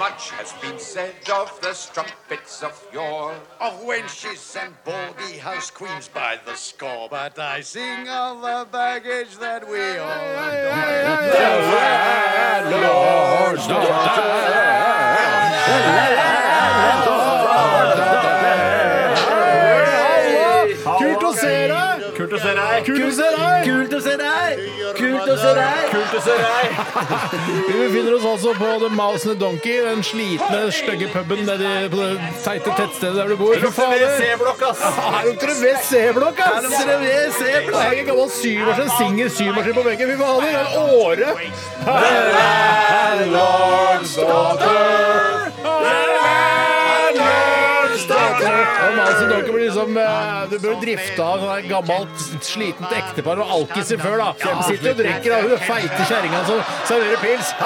Much has been said of the strumpets of yore, of wenches and baldy house queens by the score. But I sing of the baggage that we all adore. Kult å se deg! Kult å se deg! Kult å se deg! Kult å se deg! Kult å se deg! Vi befinner oss altså på The Mouse and the Donkey, den slitne, stygge puben nede i- på det teite tettstedet der du bor. Fy fader! blokk ass! Her lukter det WC-blokk, ass! lukter det WC-blokk. Det er en gammel syvmaskin, singer syvmaskin på veggen. Fy fader, en åre! Og Mouse and Donkey blir liksom eh, Du bør drifte av sånn der gammelt, slitent ektepar og alkiser før, da. De sitter og drikker av hun feite kjerringa som serverer pils.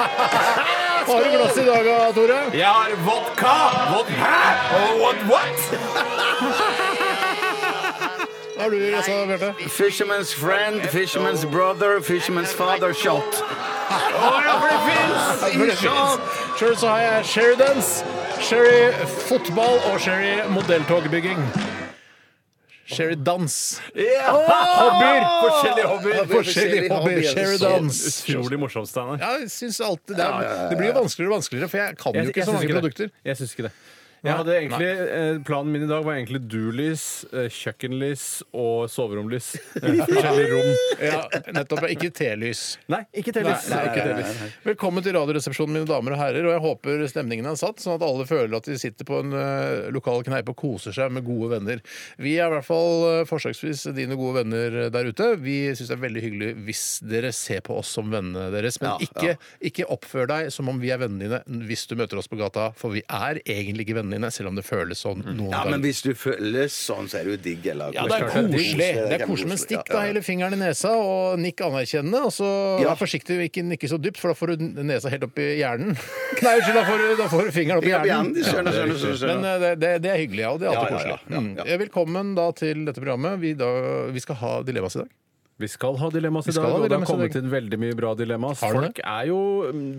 Har du glass i dag, Tore? Jeg har vodka! Vodka! Hæ? Og What? what? Har du glassa, Bjarte? Fisherman's friend, fisherman's brother, fisherman's father shot. Sjøl så har jeg Sheridance, Sherry fotball og Sherry modelltogbygging. Sherry dans. Hobbyer! Forskjellige hobbyer. Forskjellige hobbyer. Sherry dans. Utrolig morsomt, Steinar. Ja, jeg synes alltid det, er, det blir jo vanskeligere og vanskeligere, for jeg kan jo ikke så mange produkter. Jeg syns ikke det. Jeg hadde egentlig, eh, planen min i dag var egentlig du-lys, eh, kjøkkenlys og soveromlys. Eh, Forskjellige rom. Ja, nettopp. Ikke telys. Nei, ikke Nei, telys. nei, Ikke nei, nei, telys. nei. Velkommen til Radioresepsjonen, mine damer og herrer. Og jeg håper stemningen er satt, sånn at alle føler at de sitter på en eh, lokal kneip og koser seg med gode venner. Vi er i hvert fall eh, forsøksvis dine gode venner der ute. Vi syns det er veldig hyggelig hvis dere ser på oss som vennene deres, men ikke, ikke oppfør deg som om vi er vennene dine hvis du møter oss på gata, for vi er egentlig ikke vennene dine, selv om det føles sånn noen Ja, men ganger. hvis du føler sånn, så er det jo digg. Eller? Ja, det er koselig. Det er koselig, Men stikk da hele fingeren i nesa og nikk anerkjennende. Og så Ja. vær forsiktig og ikke nikke så dypt, for da får du nesa helt opp i hjernen. Nei, unnskyld, da får du, da får du fingeren opp i hjernen. Skjønner, skjønner, skjønner. Men skjønner. eh, det, det, det er hyggelig, ja. Og det er alltid Ja, ja, ja. koselig. Mm. Eh, Velkommen da til dette programmet. Vi, da, vi skal ha dilemmas i dag. Vi skal ha dilemmas i skal dag, ha og det har dilemmas i kommet dag. inn veldig mye bra dilemmas. Har du det? Folk er jo,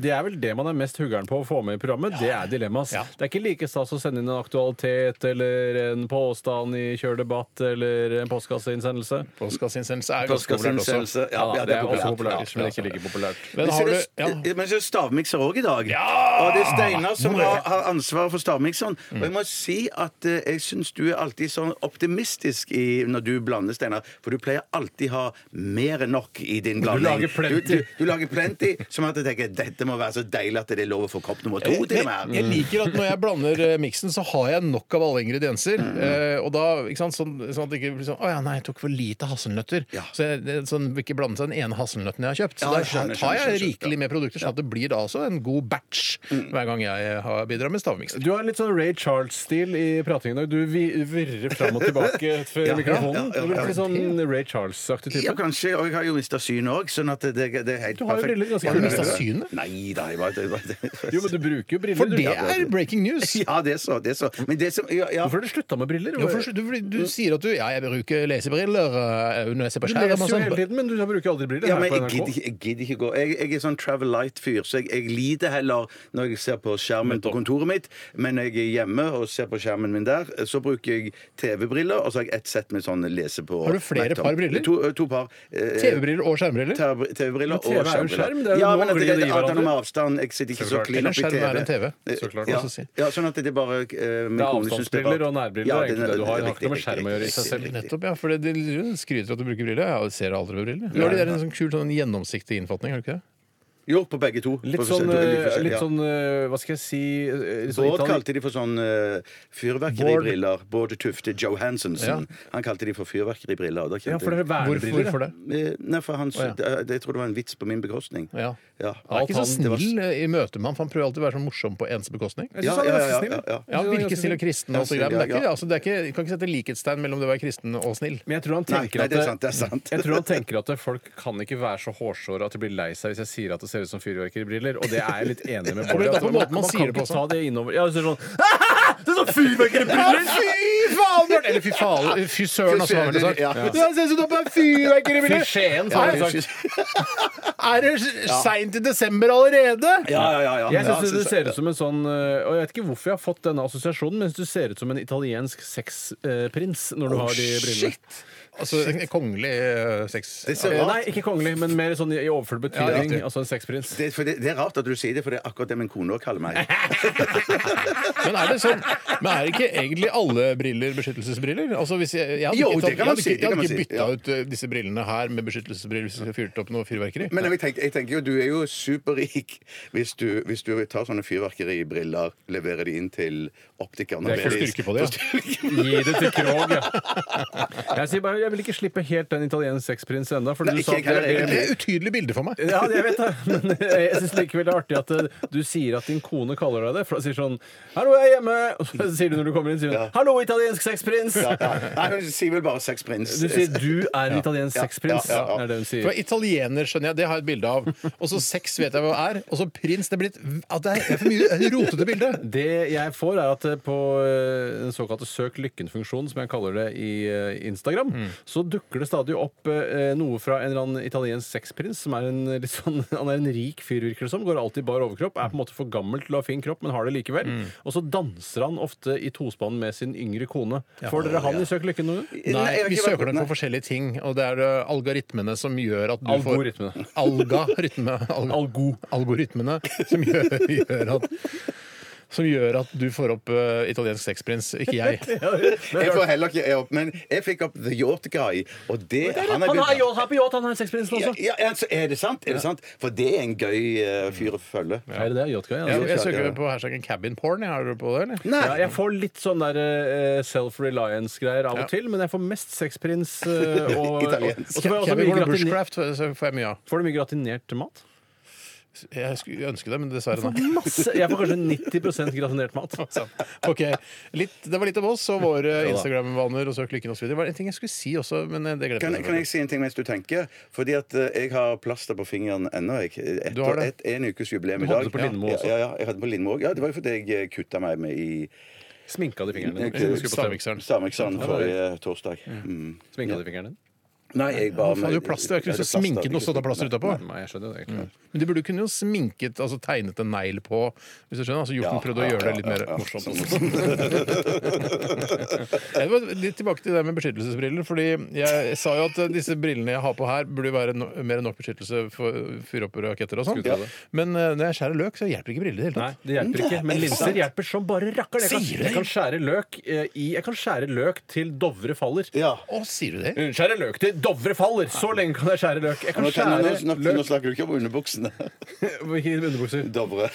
Det er vel det man er mest huggeren på å få med i programmet. Det er dilemmas. Ja. Det er ikke like stas å sende inn en aktualitet eller en påstand i Kjør debatt eller en postkasseinnsendelse. Postkasseinnsendelse er jo ganske populært Postkassinnsendelse. også. Ja, ja, det er også populært. populært, men Ja, ikke like populært. Men Men så har er du det ja. st- eh, men så er det stavmikser òg i dag. Og det er Steinar som har, har ansvaret for stavmikseren. Mm. Og jeg må si at eh, jeg syns du er alltid sånn optimistisk i, når du blander, Steinar. For du pleier alltid ha mer enn nok i din blanding. lager plenty. Du, du, du lager plenty, som at jeg tenker dette må være så deilig at det er lov å få kopp nummer to til Eh, og Jeg, med. jeg liker at når jeg blander eh, miksen, så har jeg nok av alle ingredienser. Mm. Eh, og da, ikke sant, sånn, sånn at det ikke blir sånn Å ja, nei, jeg tok for lite hasselnøtter. Ja. Så jeg det- sånn, vil ikke blande seg den ene hasselnøtten jeg har kjøpt. Så Ja, da jeg skjønner, tar jeg skjønner, Mm. skjønner, rikelig med produkter, sånn at det blir da altså en god batch hver gang jeg har bidrar med stavmiksen. Du har litt sånn Ray Charles-stil i pratingen i dag. Du vi- virrer fram og tilbake før Ja, mikrofonen. ja, ja, ja. Du blir litt sånn Ray Charles-aktig Ja, type. kanskje. Og jeg har jo mista synet òg, sånn at det, det er helt Du har jo briller, ganske Har du kule mista briller. synet? Nei da, jeg var, jeg var, Jo, men du bruker jo briller. For du. det er breaking news! Ja, det er så. Det er så. Men det som ja, ja. Hvorfor har du slutta med briller? Ja, for du, du, du sier at du Ja, jeg bruker lesebriller eh, når jeg ser på du skjerm. leser og jo sånn. hele tiden, men du bruker aldri altså. briller. Ja, her men på jeg NRK. gidder, ikke- jeg gidder ikke gå. Jeg, jeg er sånn travel light-fyr, så jeg, jeg lider heller når jeg ser på skjermen på kontoret mitt. Men når jeg er hjemme og ser på skjermen min der, så bruker jeg TV-briller, og så har jeg ett sett med sånn lese på Har du flere laptop. par briller? To, to par. eh, TV-briller og skjermbriller? TV- TV-briller Men TV er jo og skjermbriller. skjerm, det er jo ja, nå men at det, vrir at de det er noe hverandre. med avstand. Jeg sitter ikke Så så klart. klin Eller opp i skjerm TV. er en TV. Så klart. Ja, Hva skal jeg si? ja, sånn at det er bare eh, min Det kone er synes det er avstandsbriller rart. og nærbriller, Ja, er egentlig det du har. Det har riktig, ikke noe riktig, med skjerm å gjøre i riktig, seg selv. riktig. Nettopp, ja. For det, de skryter av at du bruker briller. Ja, Jeg ser aldri over briller. Du har de der en sånn kul sånn gjennomsiktig innfatning, har du ikke det? Jo, på begge to. Litt På sånn, forskjellige- eh, forskjellige- litt ja. sånn eh, Hva skal jeg si eh, litt sånn Bård Itali- kalte de for sånn eh, fyrverkeribriller. Bård Tufte Johansensen. Han kalte de for fyrverkeribriller. og Da Ja, kjente for det er Hvorfor, vernebriller. hvorfor det? jeg- Eh, Nei, for han, Å, ja. det, jeg tror det var en vits på min bekostning. Ja. Ja. Han er ikke så Alt han- det var- snill eh, i møte med han, for han prøver alltid å være sånn morsom på ens bekostning. Jeg Ja, syns han ja, er ja, ja, ganske snill. ja, ja. Ja, han virker snill og kristen, og så greier, men det er Ja, ikke, ja. altså, det er ikke, du kan ikke sette likhetstegn mellom det å være kristen og snill. Men jeg tror han Nei, tenker nei, at det er sant, det er sant. Jeg tror han tenker at folk kan ikke være så hårsåre at de blir lei seg hvis jeg sier at det ser ser ut som fyrverkeribriller, og det er jeg litt enig Kommer med Bård i. det an på Altså, måten man sier kan det på ikke også? ta det innover. Ja, så er det sånn Det er sånn fyrverkeribriller! Fy faen! Bjørn! Eller fy faen. Fy søren, altså, har vi sagt. Ja. Det ser ut som du har på deg fyrverkeribriller! Fy skjeen, så har vi Ja, sagt. Er det seint i desember allerede? Ja, ja, ja, ja. Jeg Ja, synes det ser ut som en sånn øh, Og jeg vet ikke hvorfor jeg har fått denne assosiasjonen, men jeg synes det ser ut som en italiensk sexprins eh, når du har de brillene. Altså en kongelig eh, sex... Det ser Eh, rart Nei, ikke kongelig, men mer sånn i i overfull betydning. altså en sexprins. Det, for det, det er rart at du sier det, for det er akkurat det min kone også kaller meg. Men er det sånn Men er det ikke egentlig alle briller beskyttelsesbriller? Altså hvis jeg, jeg hadde Jo, ikke, det tatt- kan jeg man hadde si, ikke, jeg det kan hadde ikke man si, bytta ja. ut eh, disse brillene her med beskyttelsesbriller hvis jeg fyrte opp noe fyrverkeri. Men jeg tenker, jeg tenker jo, du er jo superrik hvis du, hvis du tar sånne fyrverkeribriller, leverer de inn til optikeren. Jeg får styrke på det. Ja. Gi det til Krog, ja. Jeg sier bare, jeg vil ikke slippe helt den italienske sexprins ennå, for Nei, du ikke sa jeg at det, heller, det, Det er utydelig bilde for meg. Ja, jeg vet det. Men jeg syns likevel det er artig at eh, du sier at din kone kaller deg det. For hun sier sånn 'Hallo, jeg er hjemme.' Og så sier du når du kommer inn, sier hun 'Hallo, italiensk sexprins'. Ja, ja. Nei, hun sier vel bare seks prins. Du sier 'du er en italiensk Ja, sexprins'. ja, ja. er det hun sier. For Italiener skjønner jeg, det har jeg et bilde av. Og så sex vet jeg hva er. Og så prins. Det er blitt at det er for mye rotete bilde. Det jeg får, er at eh, på eh, den såkalte søk lykken-funksjonen, som jeg kaller det i eh, Instagram, så dukker det stadig opp eh, noe fra en eller annen italiensk sexprins som er en eh, litt sånn Han er en rik fyr, virker det som. Går alltid i bar overkropp. Er på en måte for gammel til å ha fin kropp, men har det likevel. Og så danser han ofte i tospann med sin yngre kone. Får dere han i Søk lykken noen gang? Nei, jeg Nei, har vi ikke søker vært- nok nei. på forskjellige ting, og det er eh, algoritmene som gjør at du Algoritmene. får Algarytme. Al Algo. Algoritmene som gjør, gjør at som gjør at du får opp eh, italiensk sexprins, ikke jeg. Jeg får heller ikke jeg opp, men jeg fikk opp The Yacht Guy, og det Han er blitt- yacht, her på yacht, han er sexprinsen ja, ja, altså, er det sant? Er det sant? For det er en gøy eh, fyr å følge. Er det det? Yachtguy? Ja, Altså. jeg søker på hashtaggen cabin porn. jeg. Har dere på det, eller? Ja, jeg får litt sånn der eh, self-reliance-greier av og til, men jeg får mest sexprins eh, og, og, Italiensk. og så får jeg også Cabin mye porn og gratinert, bushcraft så får jeg mye av. får du mye gratinert mat. Jeg skulle ønske det, men dessverre, nei. Masse, jeg får kanskje 90 gratinert mat. Ok, litt, Det var litt om oss og våre Instagram-vaner og søk lykken osv. Det var en ting jeg skulle si også, men eh, det glemte Kan, jeg- kan jeg si en ting mens du tenker? Fordi at eh, jeg har plaster på fingeren ennå. jeg. Du har Etter det. et, en ukes jubileum i Du hadde dag. det på Lindmo ja, også. ja, ja, jeg hadde det på Lindmo også. Ja, det var jo fordi jeg eh, kutta meg med i Sminka de fingrene Jeg- dine? Stavmikseren. Stameksan forrige torsdag. Mm. Sminka de fingrene dine? Nei, jeg bare Faen, det er jo plaster. Jeg har ikke lyst til å sminke den og så ta plaster utapå. Nei, jeg skjønner det Mm. egentlig. Men du burde kunne jo sminket, altså tegnet en negl på, hvis du skjønner. Altså gjort den prøvd å gjøre det litt mer morsomt. Jeg var litt tilbake til det med beskyttelsesbriller, fordi jeg sa jo at eh, disse brillene jeg har på her, burde jo være no mer enn nok beskyttelse for å fyre opp raketter og sånn. Skulle tro det. Men eh, når jeg skjærer løk, så hjelper ikke briller i det hele Nei, tatt. det hjelper ikke. Men linser hjelper som bare rakker. Jeg kan, Sier du det? jeg kan skjære løk eh, i Jeg kan skjære løk til Dovre faller. Ja. Å, sier du det? Skjære løk til Dovre faller! Så lenge kan jeg skjære løk. Jeg kan Nå, tenner- nå, skjære snakker, nå løk snakker du ikke om underbuksene, Hvilke underbukser? Dovre.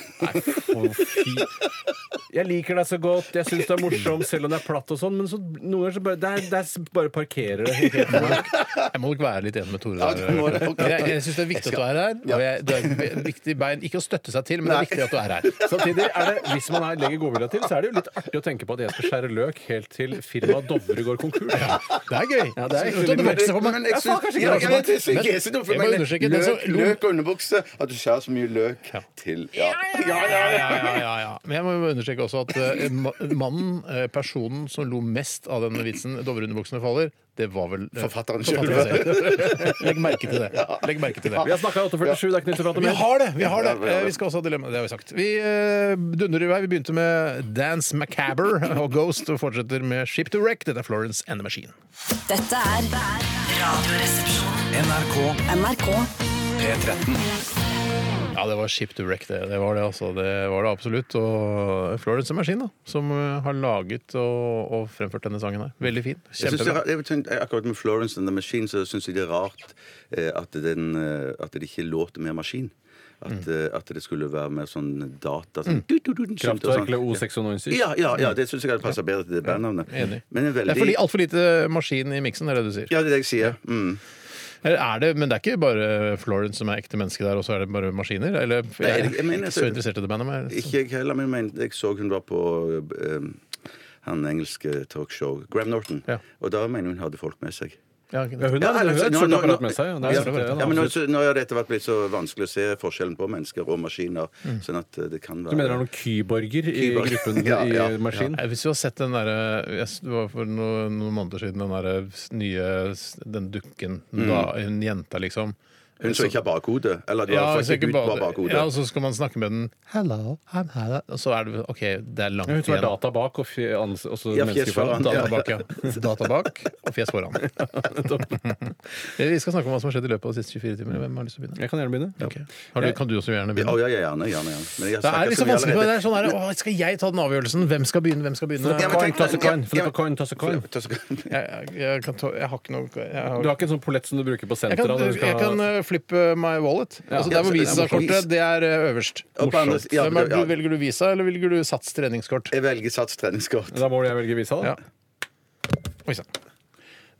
Jeg liker deg så godt, jeg syns du er morsom selv om det er platt og sånn, men så, noen ganger så bare, der, der s- bare parkerer det. helt for meg. Jeg må nok være litt enig med Tore. Ja, der. du må det. Ok. Jeg, jeg syns det er viktig at du er her. Og jeg, det er et viktig bein, Ikke å støtte seg til, men det er viktig at du er her. Samtidig er det, hvis man er, legger godvilja til, så er det jo litt artig å tenke på at jeg skal skjære løk helt til firmaet Dovre går konkurs. Det er gøy. Ja, det er Slutt å egentlig- vokse på meg. Men jeg Ja, syns- faen, kanskje ikke Ja, det jeg var vet, jeg syns ikke jeg syns det, for Jeg må meg- understreke, det Løk, som- løk og underbukse. At du skjærer så mye løk til Ja, ja, ja. ja. ja, ja, ja, ja. Men jeg må jo understreke også at eh, ma- mannen, eh, personen som lo mest av den vitsen 'Dovreunderbuksene faller', det var vel eh, Forfatteren selv. Legg merke til det. Legg merke til det. Vi har snakka 847, det er ikke nytt å prate Vi mer. har det! Vi har det. Eh, Vi skal også ha dilemma. Det har vi sagt. Vi eh, dundrer i vei. Vi begynte med Dance Macabre og Ghost og fortsetter med Ship to Wreck. Dette er Florence and the Machine. Dette er Radioresepsjonen. NRK NRK P13. Ja, det var Ship to Wreck, det. Det var det, altså. Det var det absolutt. Og Florence and Machine, da, som eh, har laget og, og fremført denne sangen her. Veldig fin. Jeg synes det Kjempebra. er, jeg vet ikke, akkurat med Florence and the Machine så syns jeg det er rart eh, at, den, eh, at det ikke låter mer maskin. At, Mm. eh, at det skulle være mer sånn data sånn, du, du, du, du, sånn, Kraftverk eller sånn. O690. Ja, ja, ja, det syns jeg hadde passa bedre til det bandnavnet. Mm. Enig. Men en Det er fordi veldig altfor lite maskin i miksen, er det du sier. Ja, det er det jeg sier. Mm. Eller Er det, men det er ikke bare Florence som er ekte menneske der, og så er det bare maskiner? Eller, jeg, jeg- er jeg mener, ikke så altså- interessert i det bandet. Men jeg, Ikke jeg heller, men jeg mener- jeg så hun var på eh, han engelske talkshow Graham Norton. Ja. Og da mener jeg hun hadde folk med seg. Ja, ikke Ja, det. hun har altså, et nå- sort nå- apparat nå- med seg. og det er Ja, sort- ja, men nå, så, nå har dette vært blitt så vanskelig å se forskjellen på mennesker og maskiner. Sånn at eh, det kan være Du mener det er noen kyborger i Kyborg. gruppen Ja, ja, i maskin? Nei, Hvis du har sett den derre jeg s- Det var for noen, noen måneder siden den derre s- nye s- Den dukken. Mm. Da, en jente, liksom. Hun som ikke har bakhode. Eller du Ja, har hvis jeg faktisk ikke ut på bare, bakhodet. ja, altså- og så skal man snakke med den. Hello, I'm Hello. Og så er det OK, det er langt Ja, Hun som er igjen. data bak og fj- ans- og så Ja, mennesker fjes foran. foran. Data bak, ja. Data bak og fjes foran. Vi skal snakke om hva som har skjedd i løpet av de siste 24 timer. Hvem har lyst til å begynne? Jeg kan gjerne begynne. Ok. Har du, kan du også gjerne Å begynne? ja, ja, gjerne. gjerne, gjerne. Men jeg har Det snakket er så liksom mye vanskelig. for Det allerede. er sånn her, å, skal jeg ta den avgjørelsen? Hvem skal begynne? Hvem skal begynne? Ja, men Coin, tenk- toss a coin. ja, Flip a ja. coin, toss a coin. Flip- toss a coin. Jeg, jeg, jeg, kan ta, jeg har ikke noe jeg har, Du har ikke en sånn pollett som du bruker på Jeg kan, senteret? når du skal jeg ha- kan uh, flippe my wallet. altså Der Ja, hvor så- Visa-kortet det er uh, øverst. Og på andre- Morsomt. ja, Hvem er, ja. du, velger du Visa, eller velger du Sats treningskort? Jeg velger Sats treningskort. Da må jeg velge visa, da. eh, Ja. Oi sann.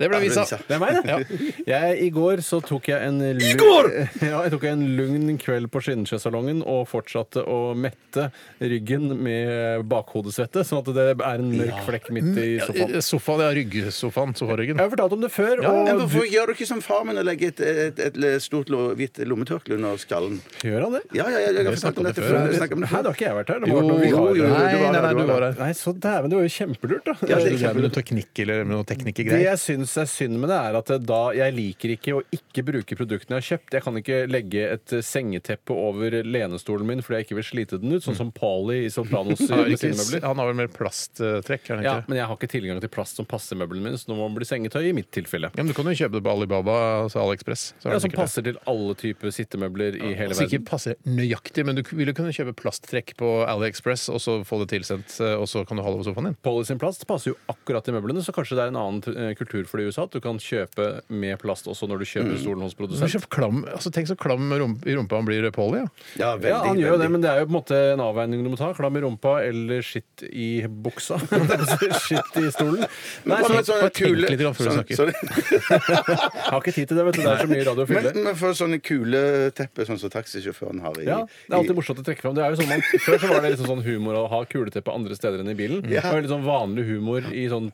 Det ble Visa. Visa. Det er meg, det. Ja. Jeg, I går så tok jeg en I går! Ja, jeg tok en lugn kveld på Skinnskjøsalongen og fortsatte å mette ryggen med bakhodesvette, sånn at det er en mørk flekk midt i sofaen. Mm, Ja, Sofaen, ja, ryggsofaen. Sofaryggen. Jeg har fortalt om det før, Ja, Men og hvorfor gjør du ikke som far min og legger et, et, et, stort lo, hvitt lommetørkle under skallen? gjør han det? Ja, ja, ja, jeg har fortalt om dette før. Vi snakket om det Hæ, før. da har ikke jeg vært her. Det Jo, må ha vært jo, noen jo, vikarer. du var Nei, der, nei, nei, du du var var der. her. Nei, så dæven, det var jo kjempelurt, da. Ja, Du det er drev med noe teknikk eller med noe Det teknikkgreier. jeg syns er synd med det, er at da jeg liker ikke å ikke bruke produktene jeg har kjøpt. Jeg kan ikke legge et eh, sengeteppe over lenestolen min fordi jeg ikke vil slite den ut, sånn som Pali i Sopranos Ja, gjør med ikke- sine møbler. Han Mm. har vel mer plasttrekk, er han Ja, ikke? men jeg har ikke tilgang til plast som passer møblene mine, så nå må det bli sengetøy i mitt tilfelle. Ja, men du kan jo kjøpe det på Alibaba, altså AliExpress. Så er det Ja, som sikkert det. passer til alle typer sittemøbler i hele Altså ikke verden. passer nøyaktig, men du k- vil jo kunne kjøpe plasttrekk på AliExpress og så få det tilsendt, eh, og så kan du ha det på sofaen din. Polly sin plast passer jo akkurat til møblene, så kanskje det er en annen eh, kultur for det i USA at du kan kjøpe med plast også når du Mm. kjøper stolen hos Men produsent. kjøp klam, altså Tenk så klam rump, i rumpa han blir, Polly. Ja. Ja, veldig, Ja, han gjør jo det, veldig. men det er jo på en måte en avveining du må ta. Klam i rumpa eller skitt i buksa. altså skitt i stolen. Nei, Hva så med sånne bare tenk kule- litt grann før du sånn- snakker. sånn- jeg har ikke tid til det, vet du. Det er så mye radio å fylle. Men, men for sånne kuleteppe sånn som taxisjåføren har i Ja, Det er alltid morsomt å trekke fram. Det er jo sånn man, før så var det liksom sånn humor å ha kuleteppe andre steder enn i bilen. Det var litt sånn vanlig humor i sånn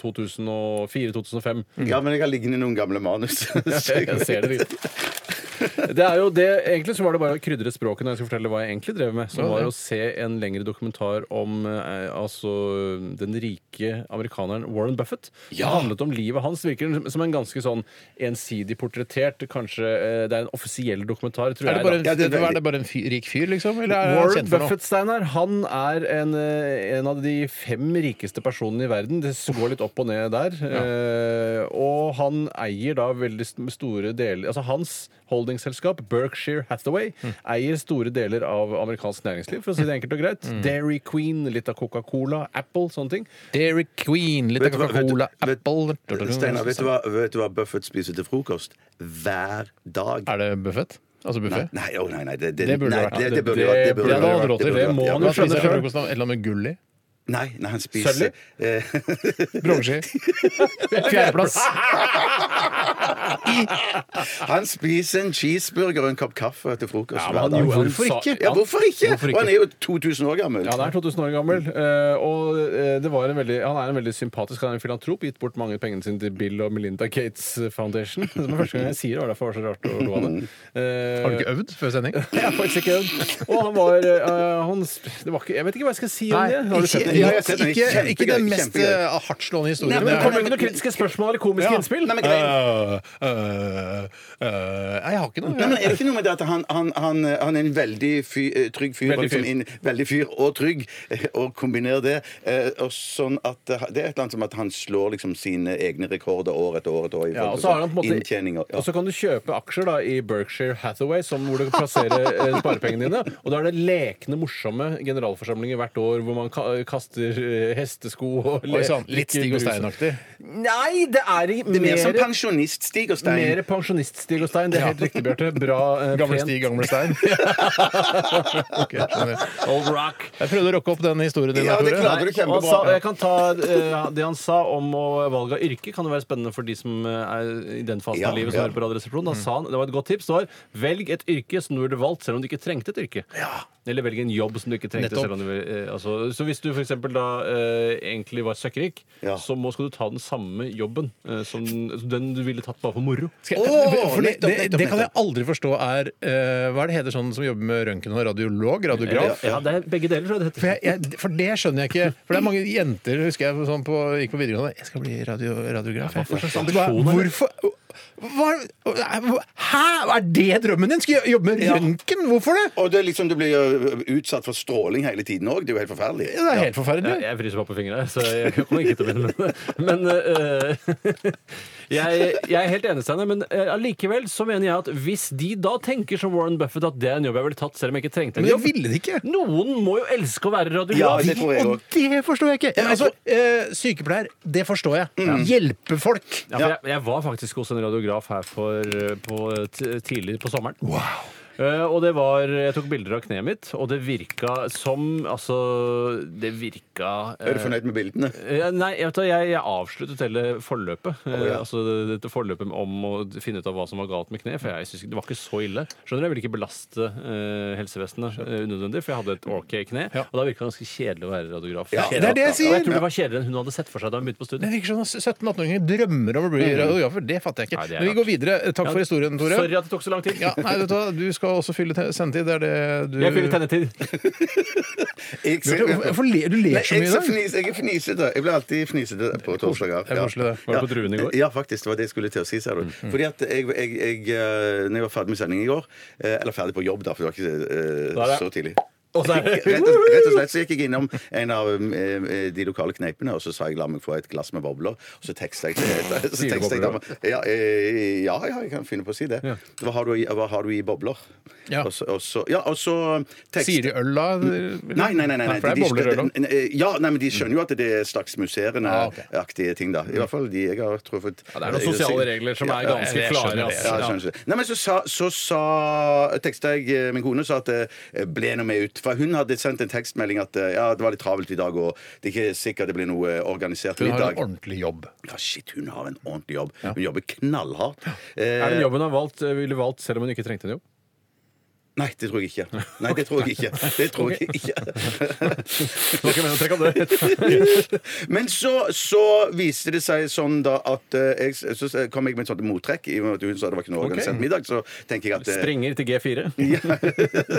2004-2005. Ja, men jeg har liggende noen gamle manus. Jeg ser det litt. Det er jo det, Egentlig så var det bare å krydre språket når jeg skulle fortelle hva jeg egentlig drev med. Som Ja, ja. var å se en lengre dokumentar om eh, altså, den rike amerikaneren Warren Buffett. Det handlet om livet hans. Virker som en ganske sånn ensidig portrettert Kanskje eh, det er en offisiell dokumentar, tror Er det jeg. bare da. en, Ja, det er veldig- er det bare en fyr, rik fyr, liksom? Eller er han Warren kjent for noe? Buffett, Steinar, han er en, eh, en av de fem rikeste personene i verden. Det går litt opp og ned der. Eh, og han eier da veldig st- store deler Altså hans holdingselskap, Berkshire Hathaway, Mm. eier store deler av amerikansk næringsliv, for å si det enkelt og greit. Mm. Dairy Queen, litt av Coca-Cola, Apple, sånne ting. Dairy Queen, litt av Vet du hva- vet du- Coca-Cola, vet- Apple Steinar, vet, du hva- vet du hva Buffett spiser til frokost? Hver dag. Er det Buffett? Altså buffé? Nei, å, nei, nei, det, Det burde nei, vært. Det, det burde Det- vært. Det det burde hadde vært, han råd til. burde Det vært, må ja. han Hva jo skjønne spiser han selv. til frokost? da? Et eller annet med gull i? Nei, nei, han spiser Sølvlig? eh, Broggi? Fjerdeplass? Han spiser en cheeseburger og en kopp kaffe til frokost Ja, men hver han dag. gjorde- han sa- Ja, hvorfor ikke? Hvorfor ikke? Og han er jo 2000 år gammel. Ja, han er 2000 år gammel. eh, Og eh, det var en veldig, han er en veldig sympatisk han er en filantrop. Gitt bort mange pengene sine til Bill og Melinda Gates Foundation. Det var første gang jeg sier det, og derfor var det så rart å lo av det. Eh, Har du ikke øvd før sending? jeg har faktisk ikke øvd. Og han var eh, han, sp- det var ikke, Jeg vet ikke hva jeg skal si om Nei, det. Har du sett ikke, den? Ja, jeg har sett den. ikke, ikke den Kjempegøy, mest kjempegøy. eh, hardtslående Nei, historien. men Det Jeg- kommer ikke noen kritiske spørsmål eller komiske Ja. innspill. Eh, Nei, men greien- Øh, øh, øh, Nei, jeg har ikke noe. Nei, men Er det ikke noe med det at han, han, han, han er en veldig fy, eh, trygg fyr? Veldig og liksom fyr. inn- veldig fyr og trygg, eh, og kombinerer det. eh, Og sånn at eh, Det er et eller annet som at han slår liksom sine egne rekorder år etter år etter år. i Ja, forhold og til så har han på en sånn måte inntjening og- ja. Og så kan du kjøpe aksjer da i Berkshire Hathaway, som hvor du plasserer eh, sparepengene dine. Og da er det lekne, morsomme generalforsamlinger hvert år hvor man ka kaster eh, hestesko og le- Oi sann, litt Stig drikker og brus. Stein-aktig. Nei, det er i Det er mer som mer pensjonist-Stig og mer Stein. pensjonist-Stig og Stein. Det er helt riktig, Bjarte. Bra. eh, Gamle pent. Stig, gamle Stein. Ok, skjønner. Old rock. jeg prøvde å rocke opp den historien din. Ja, det Tore. klarte du Og han sa, kjempebra. jeg kan ta eh, Det han sa om å- valg av yrke, kan jo være spennende for de som eh, er i den fasen Ja, av livet som ja. hører på Radioresepsjonen. Da sa han, det var et godt tips, det var velg et yrke som du burde valgt selv om du ikke trengte et yrke. Eller velge en jobb som du ikke trengte. Nettopp. Selv om du, vil, eh, altså, så hvis du f.eks. da eh, egentlig var søkkrik, Ja. så må, skal du ta den samme jobben eh, som den du ville tatt bare for moro. Skal jeg, Åh, for det- nettopp, det, nettopp, det kan jeg aldri forstå er eh, Hva er det heter sånn som jobber med røntgen og radiolog? Radiograf? Ja, det er begge deler, tror jeg det For, heter. jeg, jeg, for det skjønner jeg ikke. For det er mange jenter husker jeg sånn på, gikk på videregående Jeg skal bli radio, radiograf. Jeg. Det bare, hvorfor hva, Hæ? Er det drømmen din? Skal jeg jobbe med røntgen? Hvorfor det? Og det er liksom, du blir jo utsatt for stråling hele tiden òg. Det er jo helt forferdelig. Det er helt Ja, forferdelig. jeg fryser bare på fingrene, så jeg kommer ikke til å begynne med det. Men eh, jeg, jeg er helt enig, Steine, men eh, allikevel så mener jeg at hvis de da tenker som Warren Buffett at det er en jobb jeg ville tatt selv om jeg ikke trengte en Men jeg jobb ville det ikke. Noen må jo elske å være Ja, radiograf. det tror jeg Og òg. det forstår jeg ikke. Altså, eh, sykepleier, det forstår jeg. Hjelpe folk. Ja, for jeg, jeg var faktisk hos en radiograf her for, eh, på, t- tidlig på sommeren. Eh, og det var, Jeg tok bilder av kneet mitt, og det virka som Altså, det virka eh, Er du fornøyd med bildene? Eh, Nei, jeg, vet, hva, jeg, jeg avsluttet hele forløpet. Eh, ja. Altså dette forløpet om å finne ut av hva som var galt med kneet. For jeg synes ikke- det var ikke så ille. Skjønner du, Jeg ville ikke belaste eh, helsevesenet eh, unødvendig, for jeg hadde et OK kne. Ja. Og da virka det ganske kjedelig å være radiograf. Ja, det er det jeg sier. Og jeg tror det var kjedeligere enn hun hadde sett for seg da hun begynte på Det studiet. virker som at 17-18-åringer drømmer om å bli radiografer. Det fatter jeg ikke. Mm. Nei, det er Men vi rart. går videre. Takk for historien, Tore. Sorry at det tok så lang tid. Ja, nei, vet du, hva, du skal også fylle te- sendetid. Det er det du Jeg fyller tennetid. eh, Jeg Du, hvorfor ler- du Nei, ler så jeg, mye i så dag. fnis, jeg er fnisete. Jeg blir alltid fnisete på torsdager. Det er koselig, det. Var du på Druen i går? Ja, faktisk. Det var det jeg skulle til å si. Ser du. Fordi at jeg, jeg, jeg, eh, når jeg var ferdig med sendingen i går, eh, eller ferdig på jobb, da, for det var ikke eh, Da er det- så tidlig Og så er det- rett og, rett og slett så gikk jeg innom en av eh, de lokale kneipene, og så sa jeg la meg få et glass med bobler. Og så teksta jeg til så teksta jeg dama. Ja, eh, ja, ja, jeg kan finne på å si det. Ja. Hva har du i, hva har du i bobler? Ja. Og så, og så, ja, og så tekst- Sier de øl, da? Nei, nei, nei. nei, nei. for det er bobler øl òg. skjønner- eh, ja, nei, men de skjønner jo at det er slags Ah, ok. musserende-aktige ting, da. I hvert fall de jeg har truffet. Ja, det er noen sosiale regler som er ganske jeg skjønner klare. det. ass. Ja, jeg skjønner ikke det. Nei, men så sa, så sa teksta jeg eh, min kone sa at eh, ble nå med ut. For hun hadde sendt en tekstmelding at eh, ja, det var litt travelt i dag, og det er ikke sikkert det blir noe eh, organisert Hun har en middag. ordentlig jobb. Ja, shit, hun har en ordentlig jobb. Hun jobber knallhardt. Eh, Er det jobben hun har valgt, eh, ville valgt selv om hun ikke trengte en jobb? Nei, det tror jeg ikke. Nei, det tror jeg ikke. Det tror jeg ikke. Det var ikke meningen å trekke opp det. Men så, så viste det seg sånn da at eh, jeg, så kom jeg med et sånt mottrekk. I og med at hun sa det var ikke noe organisert middag, så tenker jeg at eh, Sprenger til G4.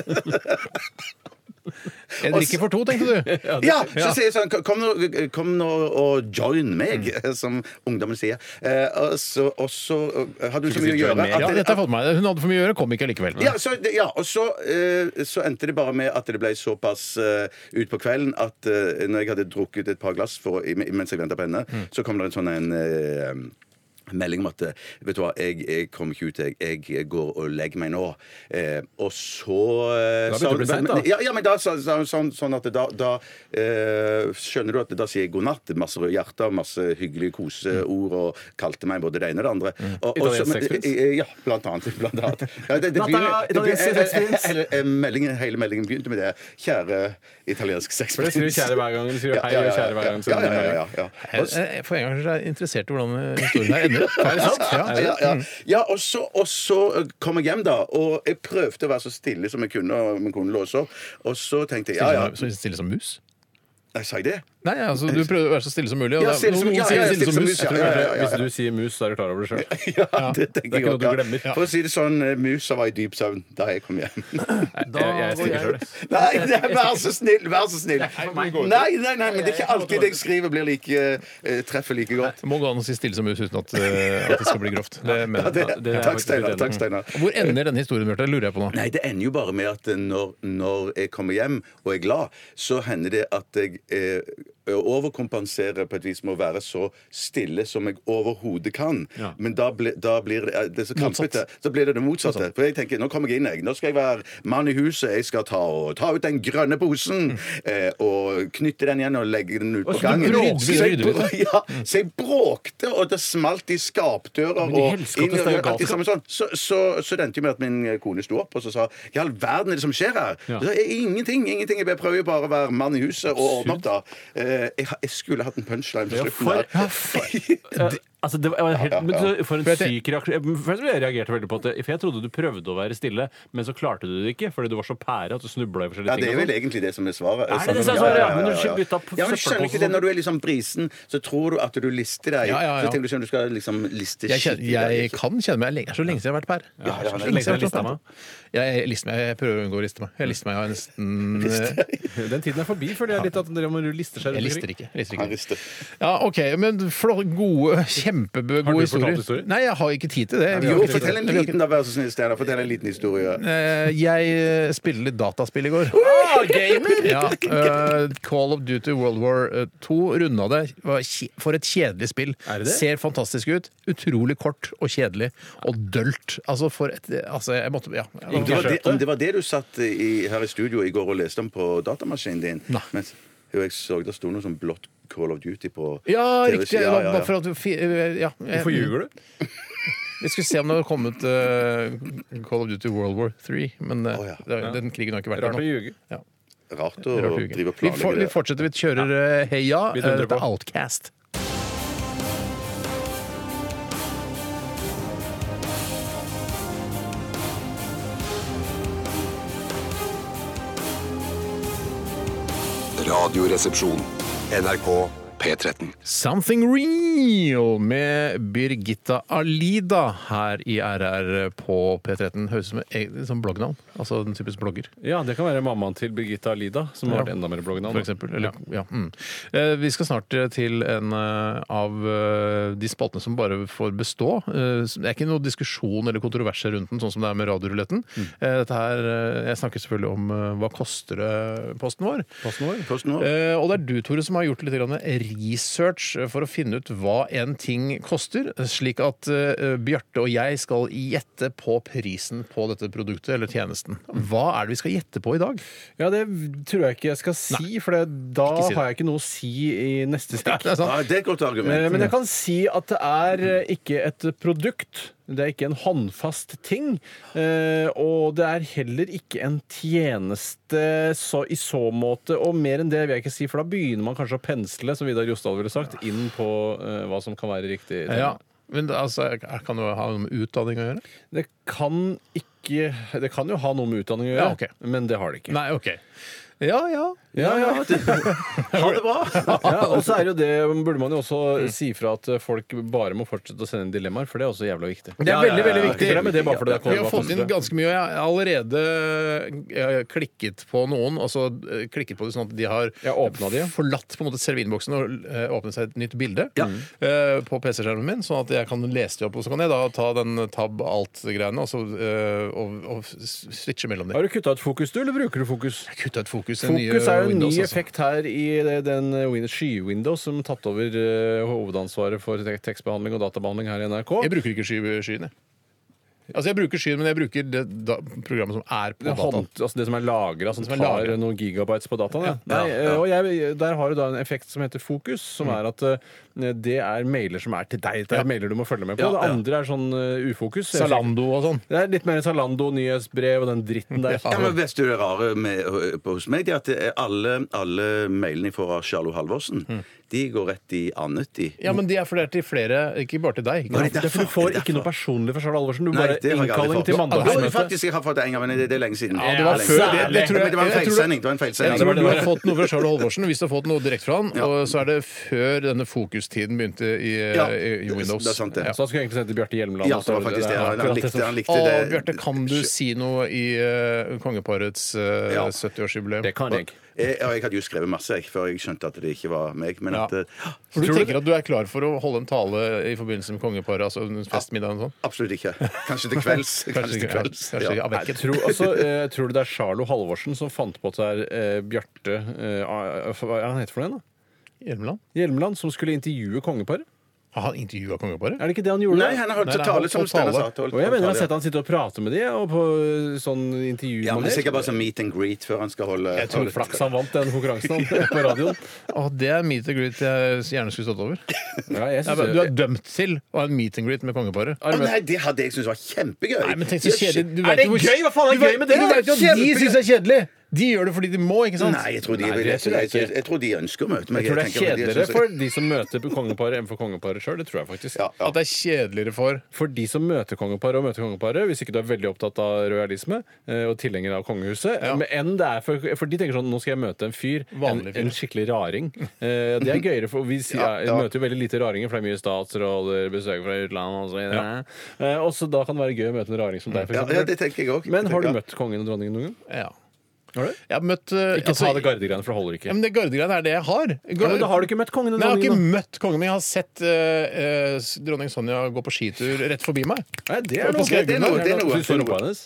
Jeg drikker for to, tenkte du. Ja! Så sier jeg sånn Kom nå, kom nå og join meg, Mm. som ungdommen sier. Eh, og så, og så eh, hadde hun så mye å gjøre Ja, at dette har jeg fått med meg. Hun hadde for mye å gjøre, kom ikke likevel. Ja, så, det- ja, og så, eh, så endte det bare med at det ble såpass eh, ut på kvelden at eh, når jeg hadde drukket et par glass for, i- mens jeg venta på henne, Mm. så kom det en sånn en eh, melding om at eh, vet du hva, jeg, jeg kommer ikke ut, jeg, jeg går og legger meg nå. Eh, og så eh, Da begynte sa hun- det å bli sent, da. men- Ja, ja, men da sa sa hun sånn, sånn at da, da eh, skjønner du at da sier jeg god natt. Masse røde hjerter, masse hyggelige Mm. koseord, og kalte meg både det ene og det andre. Og, og så- Italiensk sexpins? Eh, Ja, blant annet. Blant annet. Ja, det, det Natta, begynner- det italiensk begynner- sexpins. hele, hele, meldingen, hele meldingen begynte med det. Kjære italiensk For det sexprins. skriver kjære hver gang. Du skriver hei og kjære hver gang. så Ja, ja, det er ja, melding. ja, ja. Jeg, jeg, eh, for en gang så er jeg interessert i hvordan historien her ender. altså. Er det sant? Ja, ja, ja. ja og, så, og så eh, kom jeg hjem, da. Og jeg prøvde å være så stille som jeg kunne. Og min kone lå også. Og så tenkte jeg ja, ja. Så stille som mus? Jeg sa jeg det? Nei, altså, du prøvde å være så stille som mulig. og Ja, da- stille som- noen ja, ja, sier ja, stille som mus. stille som mus, ja, ja. Hvis du sier mus, så er du klar over det sjøl. Ja, det tenker Det er jeg ikke noe også. du glemmer. Ja. For å si det sånn, eh, musa var i dyp søvn da jeg kom hjem. Da jeg, jeg stikker selv, jeg. Nei, nei, vær så snill! Vær så snill. Nei, nei, nei, men det er ikke alltid det jeg skriver, blir like, eh, treffer like godt. Må gå an å si stille som mus uten at, eh, at det skal bli grovt. Det mener jeg. Det, Ja, det er jeg takk, faktisk Steinar. litt Takk, enig. Steinar. Hvor ender denne historien, Bjarte? Det lurer jeg på nå. Nei, det ender jo bare med at eh, når, når jeg kommer hjem og er glad, så hender det at jeg eh, overkompenserer på et vis med å være så stille som jeg overhodet kan. Ja. Men da, ble, da blir det, eh, det er så krampete. Motsatt. Så blir det det motsatte. For jeg tenker, nå kommer jeg inn, jeg. Nå skal jeg være mann i huset. Jeg skal ta, og, ta ut den grønne posen eh, og knytte den igjen og legge den ut på Mm. så du gangen. bråker, Så jeg, rydder brå- ja, så jeg bråkte, og det smalt i skapdører. de og helskapte inn i- steiner alt i galskap. sammen sånn, så, så, så det endte jo med at min eh, kone sto opp og så sa Hva i all verden er det som skjer her? Ja. Så, ingenting. ingenting, Jeg prøver jo bare å være mann i huset og ordne opp, da. Eh, jeg, jeg skulle hatt en punchline på Ja, slutten. for- der. Eh, Altså, det var helt, men så, for en For jeg tenk- syk reaksjon. Jeg- Først ble jeg reagerte veldig på at det, for jeg trodde du prøvde å være stille, men så klarte du det ikke fordi du var så pære at du snubla i forskjellige Ja, Det er ting. og vel sånn. egentlig det som er svaret. Er det det Ja, som er ja, svaret, ja? ja, Men når du ja, ikke bytter opp Ja, men Skjønner du ikke det? Når du er liksom brisen, så tror du at du lister deg. Ja, ja, ja. Så tenker du sånn, du skal liksom liste Jeg, kjenner, skikkelig deg, jeg liksom. kan kjenne meg Det er så lenge siden jeg har vært pær. Ja, det er så så lenge siden jeg, lenge siden har vært pær. jeg, lister meg. jeg prøver å unngå å riste meg. Jeg lister meg jeg har nesten Den tiden er forbi, føler jeg litt. at dere må liste seg rundt Jeg lister omkring. ikke. Jeg lister Han ikke. rister. Ja, OK. Men flott, gode, kjempegode Har du fortalt historier. historier? Nei, jeg har ikke tid til det. Jo, Vi har ikke- fortell en Nei, vi har ikke- liten, da, vær så snill, Steinar. Fortell en liten historie. Eh, Jeg eh, spiller litt dataspill i går. gamer! Ja, eh, Call of Duty World War 2 runda det. Var kje- For et kjedelig spill. Er det det? Ser fantastisk ut. Utrolig kort og kjedelig. Og dølt. Altså, for et Altså, jeg måtte Ja. Om det, var det, om det var det du satt i, her i studio i går og leste om på datamaskinen din Nei. Mens, Jo, jeg så det sto noe sånn blått Call of Duty på Ja, TV riktig. Ja, ja, Bare for ja. at du fi- eh, ja. Hvorfor ljuger du? Vi skulle se om det hadde kommet eh, Call of Duty World War 3, men eh, Å, ja. det- den krigen har ikke vært der Rart å nå. ljuge. Ja, Rart å rart å ljuge. drive og Vi, for, planlegge vi det. fortsetter. Vi kjører eh, Heia. Vi Eh, dundrer Dette er på. Outcast. Radioresepsjon. NRK P13. Something Real med Birgitta Alida her i RR på P13. Høres ut som et som bloggnavn. Altså den typisk blogger, Ja, det kan være mammaen til Birgitta Lida, som har Ja. vært enda mer bloggende. for eksempel. Eller, ja. mm. Eh, Vi skal snart eh, til en eh, av eh, de spaltene som bare får bestå. Eh, Det er ikke noe diskusjon eller kontroverser rundt den, sånn som det er med radioruletten. Eh, Dette her, eh, Jeg snakker selvfølgelig om eh, hva koster det-posten vår. Posten vår. Eh, og det er du, Tore, som har gjort litt grann research eh, for å finne ut hva en ting koster, slik at eh, Bjarte og jeg skal gjette på prisen på dette produktet eller tjenesten. Hva er det vi skal gjette på i dag? Ja, det tror jeg ikke jeg skal si, for det, da Ikke si det. har jeg ikke noe å si i neste stikk. Det er sant. Ja, det er et godt Eh, argument. Men jeg kan si at det er eh, ikke et produkt. Det er ikke en håndfast ting. eh, Og det er heller ikke en tjeneste så, i så måte. Og mer enn det vil jeg ikke si, for da begynner man kanskje å pensle, som Vidar Jostal ville sagt, inn på eh, hva som kan være riktig. Ja. Eh, Men det- altså, kan det ha noe med utdanning å gjøre? Det kan ikke Det kan jo ha noe med utdanning å gjøre, Ja, ok. men det har det ikke. Nei, OK. Ja ja. Ja, ja. Ha det bra! Ja, og så er det jo det, burde man jo også si fra at folk bare må fortsette å sende inn dilemmaer, for det er også jævla viktig. Det er veldig, veldig viktig. Glem det bare fordi det er Vi har kål- fått inn ganske mye, og jeg har allerede eh, klikket på noen. Altså eh, klikket på det sånn at de har Ja, åpnet de, ja. forlatt på en måte selve innboksen og eh, åpnet seg et nytt bilde eh, på PC-skjermen min, sånn at jeg kan lese det opp. Og så kan jeg da ta den tab alt-greiene og, så, eh, og, og switche mellom dem. Har du kutta ut fokus, du, eller bruker du fokus? Kutta ut fokus. den nye Fokus er jo en ny Windows, altså. effekt her i det- den Win- sky-windows som tatt over eh, hovedansvaret for tek- tekstbehandling og databehandling her i Jeg NRK. bruker ikke sky, skyen, jeg. Altså, jeg bruker skyen, men jeg bruker det da, programmet som er på Det, dataen. hånd, altså det som er lagra, som Som er tar lagret. noen gigabytes på dataen. Ja. Ja, Nei, ja. eh, Og jeg, der har du da en effekt som heter fokus, som er at eh, det er mailer som er til deg. Det er mailer du må følge med på. Ja, det ja. andre er sånn eh, ufokus. Zalando og sånn. Det er litt mer Zalando, nyhetsbrev og den dritten der. Ja, men Vet du det rare med, eh, på, hos meg? Det er at det er alle, alle mailene jeg får av Charlo Halvorsen, de går rett i annet, de. Ja, men de er fordi det er til flere, ikke bare til deg. Var Ikke det sant? Det er for Du får ikke noe personlig fra Charles Alvorsen. Du Nei, bare det har jeg aldri innkalling fått. til Jo, mandagsmøte. faktisk, jeg har fått det en gang, men det, det er lenge siden. Ja, det var lenge før. siden. Det- det tror jeg- Men det var en jeg tror- feilsending. Det var en feilsending. Jeg tror du har fått noe fra Charles Holvorsen. Hvis du har fått noe direkte fra han, Ja. og så er det før denne fokustiden begynte i, eh, Ja, i i Windows. Det er sant, det. Så han skulle egentlig sende til Bjarte Hjelmeland. Ja, og det så var faktisk det. der. Han, han, likte, han Å, likte det. Bjarte, kan du si noe i eh, kongeparets eh, Ja. 70-årsjubileum? Det kan jeg. Jeg, Eh, ja, jeg hadde jo skrevet masse jeg, før jeg skjønte at det ikke var meg. Men Ja. at, eh, For du Tror du tenker at du er klar for å holde en tale i forbindelse med kongeparet? Altså en festmiddag og sånn? absolutt ikke. Kanskje til kvelds. Kanskje til ikke, kvelds. kanskje ikke, Ja. ja, vet ikke. Tror, altså, eh, tror du det er Charlo Halvorsen som fant på at det er eh, Bjarte eh, ah, Hva er han heter for noe igjen, da? Hjelmeland? Hjelmeland, som skulle intervjue kongeparet? Har han intervjua kongeparet? Er det ikke det han gjorde? Nei, han har Nei, holdt nei, tale, holdt som tale. Steinar sa. holdt- og jeg mener jeg har holdt sett tale, han sitte og prate med de, og på eh, sånn Ja, men det er intervjumaner. sikkert bare sånn meet and greet før han skal holde jeg tror holde- flaks han vant den konkurransen han, på radioen. Å, det er meet and greet jeg gjerne skulle stått over. Ja, jeg Ja, synes men Du er dømt til å ha en meet and greet med kongeparet. Å nei, det hadde jeg syntes var kjempegøy. Nei, men tenk så kjedelig. Du vet Er det jo hvor- gøy? Hva faen er Du vet- gøy med det? Du vet jo at de Kjempegøy. syns det er kjedelig! De gjør det fordi de må, ikke sant? Nei, jeg tror de, Nei, vil, det jeg, tror jeg ikke. jeg, jeg tror de ønsker å møte meg. Jeg tror det tenker er at de kjedeligere synes- for de som møter kongeparet enn for kongeparet sjøl. Det tror jeg faktisk. Ja, ja. At det er kjedeligere for For de som møter kongeparet og møter kongeparet, hvis ikke du er veldig opptatt av rojalisme eh, og tilhenger av kongehuset men enn det er for, for de tenker sånn Nå skal jeg møte en fyr, en, Vanlig fyr. en skikkelig raring. Eh, det er gøyere, for vi sier, ja. møter jo veldig lite raringer, for det er mye statsråder, besøk fra utlandet og så videre. Eh, og så da kan det være gøy å møte en raring som deg, for Ja, eksempel. ja, det tenker jeg også. Men har du Ja. møtt kongen og dronningen noen gang? Ja. Har du? Jeg har møtt eh, Ikke altså, ta det gardegreiene, for det holder ikke. Ja, men det gardegreiene er det jeg har. Ja, men da har du ikke møtt kongen og Nei, jeg har ikke dronningen. møtt kongen, men jeg har sett eh, eh, dronning Sonja gå på skitur rett forbi meg. da. Nei, det Ja, er noe. på Skaugum, er noe- det er noe- Så Du så rumpa hennes?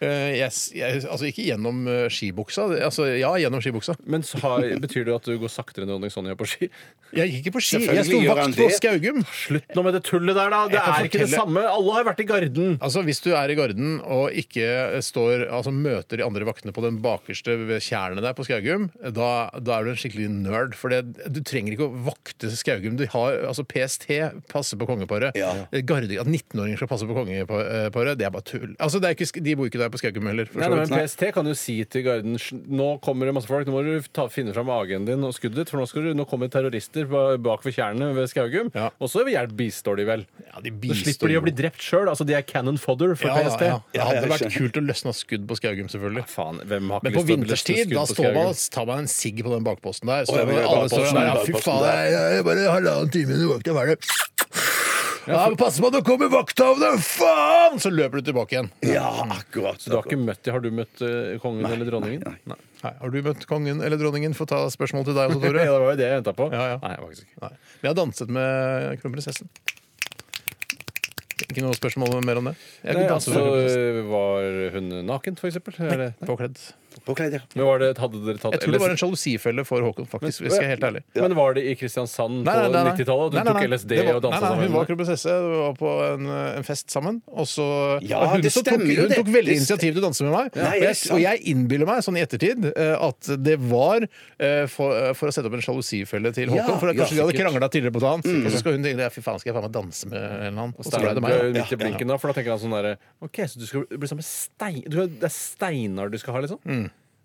Eh, jeg, s- jeg, altså ikke gjennom eh, skibuksa. Det- Altså, ja, gjennom skibuksa. Men så har, betyr det at du går saktere enn dronning Sonja på ski? Jeg gikk ikke på ski. Selvfølgelig Jeg sto gjør han vakt på det. Skaugum. Slutt nå med det tullet der, da! Det Jeg kan er ikke det fortelle- samme! Alle har vært i Garden! Altså, Hvis du er i Garden og ikke står, altså møter de andre vaktene på den bakerste ved tjernet der på Skaugum, da, da er du en skikkelig nerd. For det, du trenger ikke å vakte Skaugum. Du har, altså PST passer på kongeparet. Ja. Garde, at 19-åringer skal passe på kongeparet, det er bare tull. Altså, det er ikke, sk- De bor ikke der på Skaugum heller. for Nei, så nei, vidt. men PST kan jo si til Garden "Sj, Nå kommer det masse folk, nå må du ta, finne fram AG-en din og skuddet ditt, for nå, skal du, nå kommer terrorister ba- bak ved tjernet ved Skaugum. Ja. Og så hjelp bistår de vel. Ja, de Så bistår slipper de jo. å bli drept sjøl. Altså, de er cannon fodder for Ja, da, PST. ja. Det Ja, hadde jeg vært skjønner. kult å løsne skkudd på Skaugum, selvfølgelig. Faen, hvem har Men på ikke lyst til å løsne vinterstid, skudd da på står man, Skaugum? tar man en sigg på den bakposten der. Å, Står ja, men man, alle står bakposten der, der, ja, fy bakposten faen, der. jeg, jeg, bare halvannen time inn i vakta, hva er det? Ja, men pass på at det kommer vakta av deg, faen! Så løper du tilbake igjen. Ja, akkurat. Du har ikke møtt de, Har du møtt eh, kongen eller dronningen? nei, Nei. Nei, har du møtt kongen eller dronningen? Få ta spørsmål til deg også, Ja, Tore. det var jo det jeg venta på. Ja, ja. Nei, faktisk ikke. Nei. Vi har danset med kronprinsessen. Ikke noe spørsmål mer om det? Jeg Nei, kunne danse altså, med kronprinsessen. var hun naken, for eksempel? Eller? Påkledd. Påkledd, ja. Men var det, hadde dere tatt Jeg tror det var en sjalusifelle for Håkon, faktisk. Hvis jeg er helt ærlig. Men var det i Kristiansand Nei, nei, på nei, nei. 90-tallet? Du Nei, nei, nei. tok LSD Det var- og dansa nei, nei, sammen? Hun var kronprinsesse vi var på en, en fest sammen. Og så Ja, og hun det så stemmer tok, jo Hun det. tok veldig Det stem- initiativ til å danse med meg. Nei, og, jeg, sant. og jeg innbiller meg sånn i ettertid eh, at det var eh, for, eh, for å sette opp en sjalusifelle til Ja, Håkon. For at ja, Mm. kanskje de hadde sikkert. krangla tidligere på dagen, og så skal hun tenke ja, fy faen, skal jeg faen meg danse med en eller annen? Og så ble det Steinar meg. da. ble midt i blinken da, for da tenker han sånn derre OK, så du skal bli sammen med stein... Du, det er Steinar du skal ha, liksom? Mm.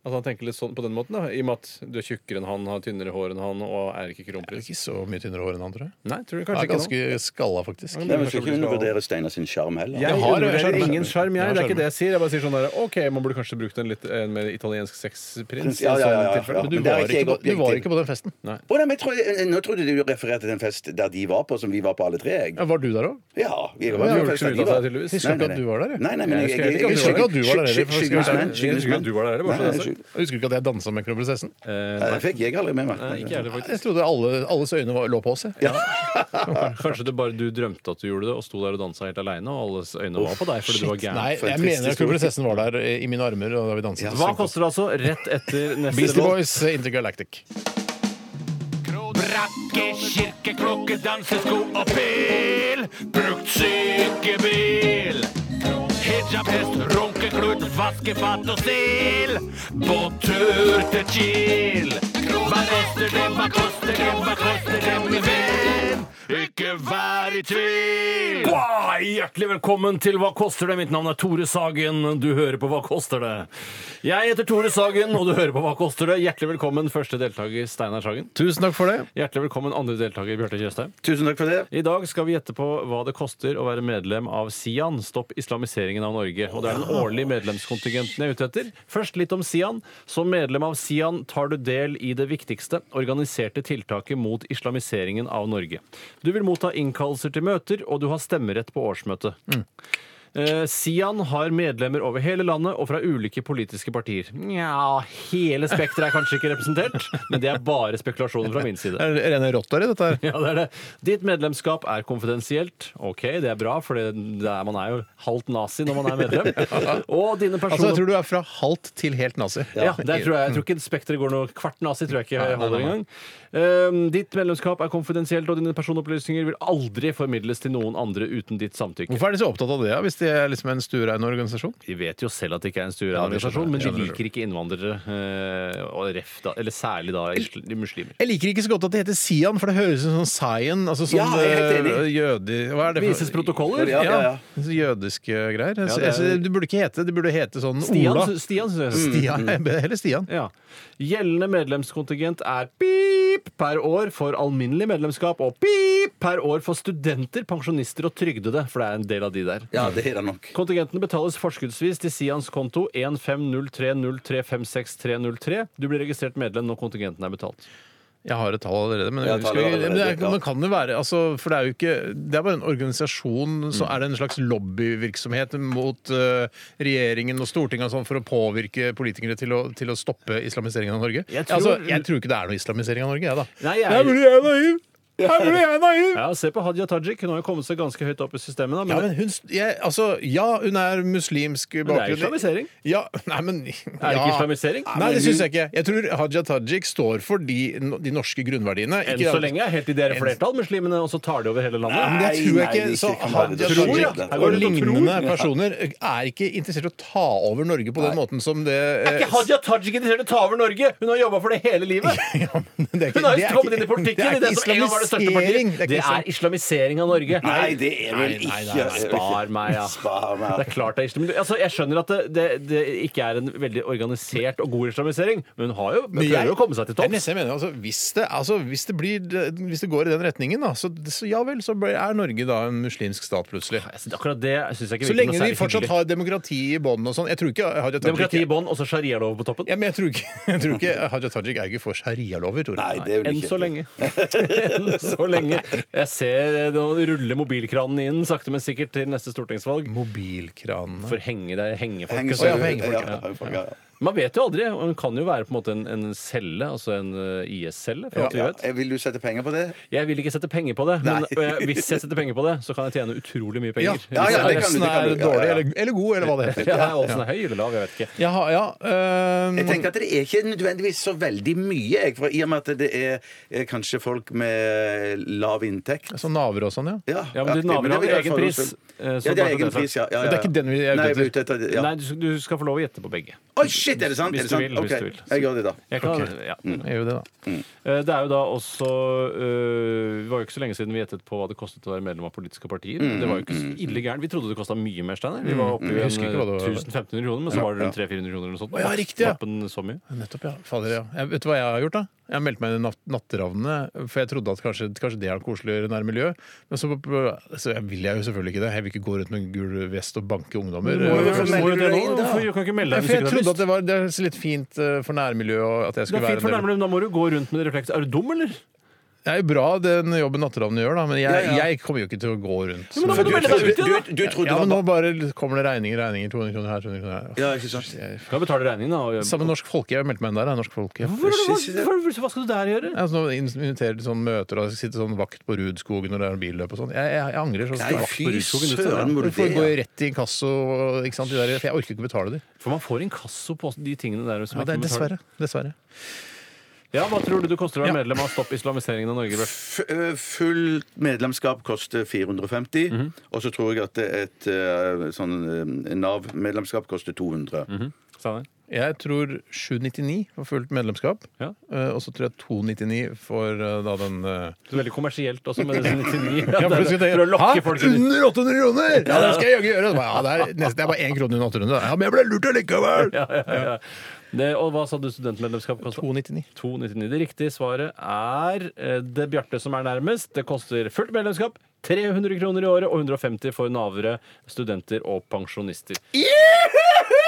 At han tenker litt sånn på den måten, da, i og med at du er tjukkere enn han, har tynnere hår enn han og er ikke Jeg er kronprins. Ikke så mye tynnere hår enn andre. Nei, tror du Jeg kanskje er ikke nå? ganske skalla, faktisk. Nei, men Skal ikke undervurdere Steinar sin sjarm heller. Jeg har undervurderer sjarmen. ingen sjarm, jeg. Jeg har Det er ikke sjarmen. det jeg sier. Jeg bare sier sånn der, OK, man burde kanskje brukt en litt en mer italiensk sexprins. i sånn Ja, ja, ja, sånne ja, ja. Men tilfeller. du men det er var, ikke jeg ikke på, du var objektiv. ikke på den festen. Å, nei, men jeg tror, jeg- nå trodde du refererte til en fest der de var på, som vi var på alle tre. Jeg. Ja, var du der òg? Ja, vi var på Men jeg en gjorde fest ikke så der de mye ut av var. deg, tydeligvis. Husker Nei, ikke at nei, du var der. jeg. Nei, nei, men Jeg jeg, jeg, husker ikke at du husker var ikke- der. Jeg husker ikke Skyggenes at menn, Jeg skyggenes husker ikke at menn. du var der, det var Nei, nei, sånn jeg sa. skygg- Jeg husker ikke at jeg dansa med kronprinsessen. Nei, det fikk jeg aldri med meg. Eh, Nei, ikke jeg heller, faktisk. Jeg trodde alle, alles øyne var, lå på oss. Jeg. Kanskje det bare du drømte at du gjorde det, og sto der og dansa helt aleine, og alles øyne var på deg fordi du Nei, var gæren. for en jeg trist mener at historie. kronprinsessen var der eh, i i mine armer og da vi danset. Hva koster det altså rett etter neste Beastie Boys eh, Intergalactic. Brakke, kirke, klokke, dansesko og pil. Brukt sykebil. Hijab, hest, runkeklut, vaskefat og stil. På tur til Kiel. Hva koster det, hva koster det, hva koster det, min venn? Ikke vær i tvil. Wow, hjertelig velkommen til Hva koster det? Mitt navn er Tore Sagen. Du hører på Hva koster det? Jeg heter Tore Sagen, og du hører på Hva koster det? Hjertelig velkommen første deltaker Steinar Sagen. Tusen takk for det. Hjertelig velkommen andre deltaker Bjarte Tjøstheim. Tusen takk for det. I dag skal vi gjette på hva det koster å være medlem av Sian, stopp islamiseringen av Norge. Og det er den årlige medlemskontingenten jeg er ute etter. Først litt om Sian. Som medlem av Sian tar du del i det viktigste, organiserte tiltaket mot islamiseringen av Norge. Du vil motta innkallelser til møter, og du har stemmerett på årsmøtet. Eh, Sian har medlemmer over hele landet og fra ulike politiske partier. Nja, hele spekteret er kanskje ikke representert, men det er bare spekulasjoner fra min side. Er det rene rotter i dette her? Ja, det er det. Ditt medlemskap er konfidensielt. Ok, det er bra, for det det er, man er jo halvt nazi når man er medlem. Og dine Altså, personer jeg tror du mm. er fra halvt til helt nazi. ja, der tror jeg, jeg tror ikke spekteret går noe kvart nazi. tror jeg ikke jeg holder engang. Ehm, ditt medlemskap er konfidensielt, og dine personopplysninger vil aldri formidles til noen andre uten ditt samtykke. Hvorfor er de så opptatt av det, ja, hvis de er liksom en stuerein organisasjon. De vet jo selv at det ikke er en stor Ja, det skjønner jeg. organisasjon, men de Skjønner du. liker ikke innvandrere, eh, og ref da, eller særlig da isl- de muslimer. Jeg liker ikke så godt at det heter Sian, for det høres ut som Sion. Altså sånn Ja, jeg er helt enig. eh, jødi... Hva er det Vises protokoller? Ja, Ja, ja, ja. Jødiske greier. Jeg, Ja, det er- jeg synes det burde ikke hete det burde hete sånn Stian, Ola. Mm. sy- Mm. Stian synes jeg. Stian, Heller Stian. Ja. Gjeldende medlemskontingent er pip per år for alminnelig medlemskap og pip per år for studenter, pensjonister og trygdede, for det er en del av de der. Ja, det er det nok. Kontingenten betales forskuddsvis til Sians konto 150303566303. Du blir registrert medlem når kontingenten er betalt. Jeg har et tall allerede, men, Ja, tallet skal vi, allerede, men det er, ja. men kan det være altså, For det er jo ikke Det er bare en organisasjon, så er det en slags lobbyvirksomhet mot eh, regjeringen og Stortinget og sånn for å påvirke politikere til å, til å stoppe islamiseringen av Norge? Jeg Jeg tror- tror, altså, jeg tror ikke det er noe islamisering av Norge, jeg, da. Nei, jeg- Her burde jeg er naiv! Her burde jeg er naiv! Ja, Se på Hadia Tajik. Hun har jo kommet seg ganske høyt opp i systemet. Da, Ja, men men hun, jeg, altså, ja, hun er muslimsk det bakgrunn. er islamisering. Ja, nei, men Er det ikke islamisering? Nei, det syns jeg ikke. Jeg tror Haja Tajik står for de, de norske grunnverdiene. Enn ikke- så lenge, helt til det er flertall, muslimene, og så tar de over hele landet. Ja, men det Nei, tror jeg nei, ikke. det Så ikke kan være Hadia det. Tror, ja. Her Tajik og går det ut og lignende tror. personer er ikke interessert i å ta over Norge på den måten som det Er ikke Hadia Tajik interessert i å ta over Norge? Hun har jobba for det hele livet! Ja, men det er ikke- Hun har det jo er ikke- kommet inn i politikken i det som en gang var det største islamisering. partiet. Det er Det ikke er islamisering av Norge. Nei, det er vel Nei, nei, ikke nei, nei, Spar meg, ja. Spar meg. Det er klart det er islamisering. Altså, jeg skjønner at det, det, det ikke er en veldig organisert og god islamisering, men hun har jo, Men prøver jo å komme seg til Det er topps. nesten jeg mener, altså, hvis, det, altså, hvis, det blir, hvis det går i den retningen, da, så, så ja vel, så blir- er Norge da en muslimsk stat plutselig. Altså, Akkurat det syns jeg ikke Så virker noe lenge vi særlig fortsatt hyggelig. har demokrati i bånd og sånn. Jeg tror ikke Haja Tajik Demokrati i bånn og så sharialov på toppen. ja, men jeg tror ikke, jeg tror ikke Haja Tajik er ikke for sharialover, Tore. Nei, det er vel Enn ikke så lenge. Enn så lenge. Jeg ser eh, nå ruller mobilkranen inn sakte, men sikkert til neste stortingsvalg. Mobilkranene For henge, det er hengefolk. Henger Å, ja, seg- henger folk, ja, ja. henger folk, ja. Man vet jo aldri. og Hun kan jo være på en måte en, en celle, altså en eh, IS-celle. for alt vi Ja, vet. vil du sette penger på det? Jeg vil ikke sette penger på det, men Nei. eh, hvis jeg setter penger på det, så kan jeg tjene utrolig mye Ja, penger. ja, ja, det kan du, Olsen det kan er du, ja, ja. dårlig eller, eller god, eller hva det heter. Ja, Åsen er høy eller lav, jeg vet ikke. Jaha, ja. øhm, Mm. Jeg tenker at Det er ikke nødvendigvis så veldig mye, jeg, for i og med at det er eh, kanskje folk med lav inntekt. så naver og sånn, ja. Ja, Ja, men de aktiv, det naver har vil jeg egen få- pris, eh, så Ja, det bare er for egen det, pris, ja. ja, ja, Men det er ikke den vi er ute Nei, jeg er etter. ute etter. det, Ja. Nei, du, du skal få lov å gjette på begge. Oi, shit, er det sant? Er det Hvis du sant? vil, hvis Ok, du vil. Jeg gjør det, da. Jeg kan, Ok. Mm. ja. Jeg Gjør jo det, da. Eh, Det er jo da også eh, Det var jo ikke så lenge siden vi gjettet på hva det kostet å være medlem av politiske partier. Det var jo ikke så ille gærent. Vi trodde det kosta mye mer, Steiner. Vi var oppe i Mm. Jeg en, husker ikke hva det var. 1500 kroner, men så var det rundt 300-400 kroner eller noe sånt. Å, ja, riktig, ja. Knappen så mye. Nettopp, ja. Fader, ja. Jeg, vet du hva jeg har gjort, da? Jeg har meldt meg inn i nat Natteravnene, for jeg trodde at kanskje, kanskje det er koseligere nær miljø. Men så, så jeg vil jeg jo selvfølgelig ikke det. Jeg vil ikke gå rundt med gul vest og banke ungdommer. Eh, Hvorfor melder du deg inn, da? Hvorfor kan du ikke melde Nei, deg for hvis jeg ikke du har trodde at lyst? det var, det er litt fint eh, for nærmiljøet og at jeg Det skulle er være fint for en del. nærmere, men da må du gå rundt med refleks. Er du dum, eller? Det er jo bra den jobben Natteravnene gjør, da, men jeg, Ja, ja. jeg kommer jo ikke til å gå rundt. men da som- må du melde deg ut igjen, da. Du, du trodde ja, det men nå var bare kommer det regninger, regninger. 200 kroner her, 200 kroner her. Ja, ikke sant? Kan betale regningen, da. og- Sammen med Norsk Folkehjelp. Jeg meldte meg inn der. jeg, Norsk Folkehjelp. Hvorfor- hvorfor- hvorfor- Hva skal du der gjøre? Ja, så nå inviterer til sånn møter og sitter sånn vakt på Rudskogen når det er billøp og sånn. Jeg, jeg, jeg angrer så Nei, sterkt. fy søren, burde Hvorfor det går ja. jeg rett i inkasso? Ikke sant, de der, for jeg orker ikke å betale de. For man får inkasso på de tingene der. som Ja, det jeg er ikke betaler. dessverre. dessverre. Ja, Hva tror du du koster å være Ja. medlem av Stopp islamiseringen av Norge? Bjørn? F- ø, Fullt medlemskap koster 450, Mhm. og så tror jeg at et ø, sånn ø, Nav-medlemskap koster 200. Mhm. Steiner? Jeg tror 799 for fullt medlemskap. Ja. eh, Og så tror jeg 299 for eh, da den eh, Så veldig kommersielt også, med det som 99. Ja, Ja, for du skal det tenke, er- for å Hæ? lokke folk inn. Under 800 kroner! Ja, det skal jeg jaggu gjøre. Så bare, Ja, det er, nesten, det er bare én krone under 800. Ja, men jeg ble lurt allikevel! Ja, ja, ja. Det, og hva sa du studentmedlemskap kosta? 299. 299. Det riktige svaret er eh, det Bjarte som er nærmest. Det koster fullt medlemskap. 300 kroner i året og 150 for navere, studenter og pensjonister.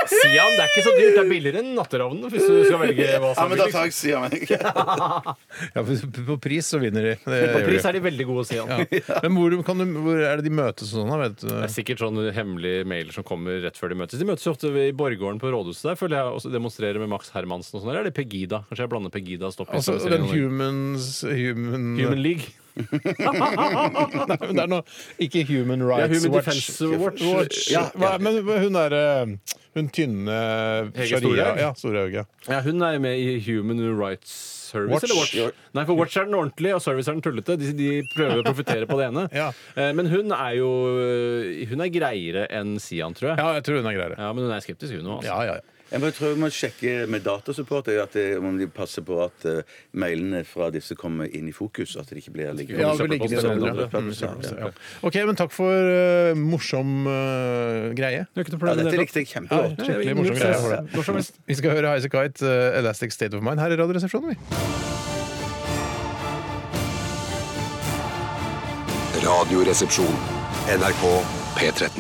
Sian, det er ikke så dyrt. Det er billigere enn Natteravnene, hvis du skal velge hva Ja, som men er da billigst. tar jeg sier jeg meg. Ja, for på pris så vinner de. Det På gjør de. pris er de veldig gode, Sian. Ja. Men hvor, kan du, hvor er det de møtes og sånn, da? Vet Det er du? sikkert sånn hemmelige mailer som kommer rett før de møtes. De møtes jo ofte i borggården på rådhuset der, føler jeg, og så demonstrerer med Max Hermansen og sånn. Eller er det Pegida? Kanskje jeg blander Pegida og Stopp Altså, den islamiseringen av Norge. humans human, Human League. Nei, men det er noe Ikke Human Ja, Rights Human Watch. Defense Watch. Ja, hva- men hun er eh, Hun tynne Hege Sharia- Storhaug? Ja, Storhaug. Ja. Ja, hun er med i Human Rights Service, Watch. eller Watch? Nei, for Watch er den ordentlige, og Service er den tullete. De, de prøver å profitere på det ene. Ja. Eh, Men hun er jo eh, Hun er greiere enn Sian, tror jeg. ja, jeg tror hun er greiere. Ja, Men hun er skeptisk, hun òg. Ja, ja, ja. Jeg bare tror jeg må sjekke med datasupport jeg, at det, om de passer på at eh, mailene fra disse kommer inn i fokus. At det ikke blir liggende Ja, i vi ligger i søppelposten sånn eller søppelposten, noe. Mm. Ja, ja. Mm, OK, men takk for eh, morsom eh, greie. Ja, dette likte jeg kjempegodt. Skikkelig morsom greie. for det. Vi skal høre Highasakite, Kite, eh, Elastic State of Mind, her i Radioresepsjonen. vi. Radioresepsjon. NRK P13.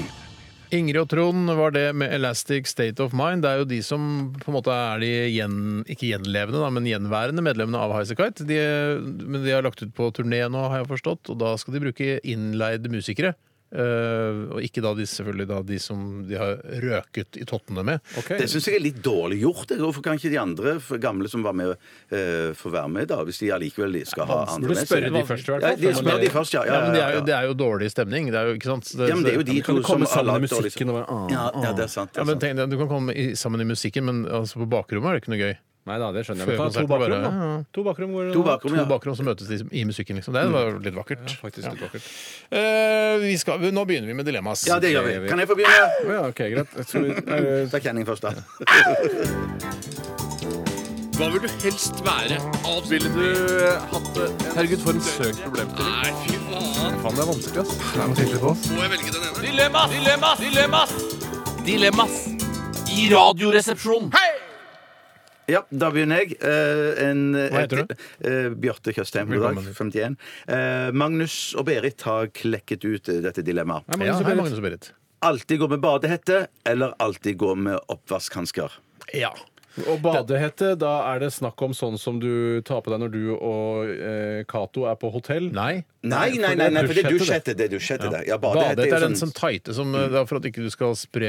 Ingrid og Trond var det med Elastic State of Mind. Det er jo de som på en måte er de gjen, ikke gjenlevende, da, men gjenværende medlemmene av Highasakite. De, men de har lagt ut på turné nå, har jeg forstått, og da skal de bruke innleide musikere. Eh, og ikke da de, selvfølgelig da de som de har røket i tottene med. Det syns jeg er litt dårlig gjort. jeg. Hvorfor kan ikke de andre f- gamle som var med, eh, få være med, da? Hvis de allikevel skal ha andre Burde med spørre de først, i Ja, hvert fall. de spør de først, ja. Ja, ja, men det er, ja, jo, det er jo dårlig stemning. Det er jo, ikke sant? ja, men det er jo de Kan to du komme som har sammen i lagt dårlig- musikken og bare Ja, ja, det er sant. Det Ja, er men sant. tenk deg, Du kan komme i, sammen i musikken, men altså, på bakrommet er det ikke noe gøy. Nei da, det skjønner Før jeg. Men ta konserten to bakrom, bare, da. ja, ja. To bakrom går det To nå. bakrom, To ja. Mm. bakrom som møtes i, i musikken, liksom. Det var jo litt vakkert. Faktisk litt vakkert. Eh, vi skal, nå begynner vi med dilemmas. Ja, det gjør vi. Kan jeg få begynne? Å ja, ok, greit. Jeg tror- er det- Da kjenner jeg først, da. Dilemmas! Dilemmas! Dilemmas! Dilemmas i Radioresepsjonen. Ja, da begynner jeg. Eh, en, Hva heter du? Eh, Bjarte Tjøstheim. God dag. 51. Eh, Magnus og Berit har klekket ut eh, dette dilemmaet. Ja, hei, Magnus og Berit. Alltid gå med badehette, eller alltid gå med oppvaskhansker? Ja. Og badehette, da er det snakk om sånn som du tar på deg når du og eh, Cato er på hotell? Nei. Nei, nei, nei, nei, for det er dusjhette. Det er dusjhette, det. Ja, Badehette er den sånn- sånn tighte som eh, da, for at ikke du skal spre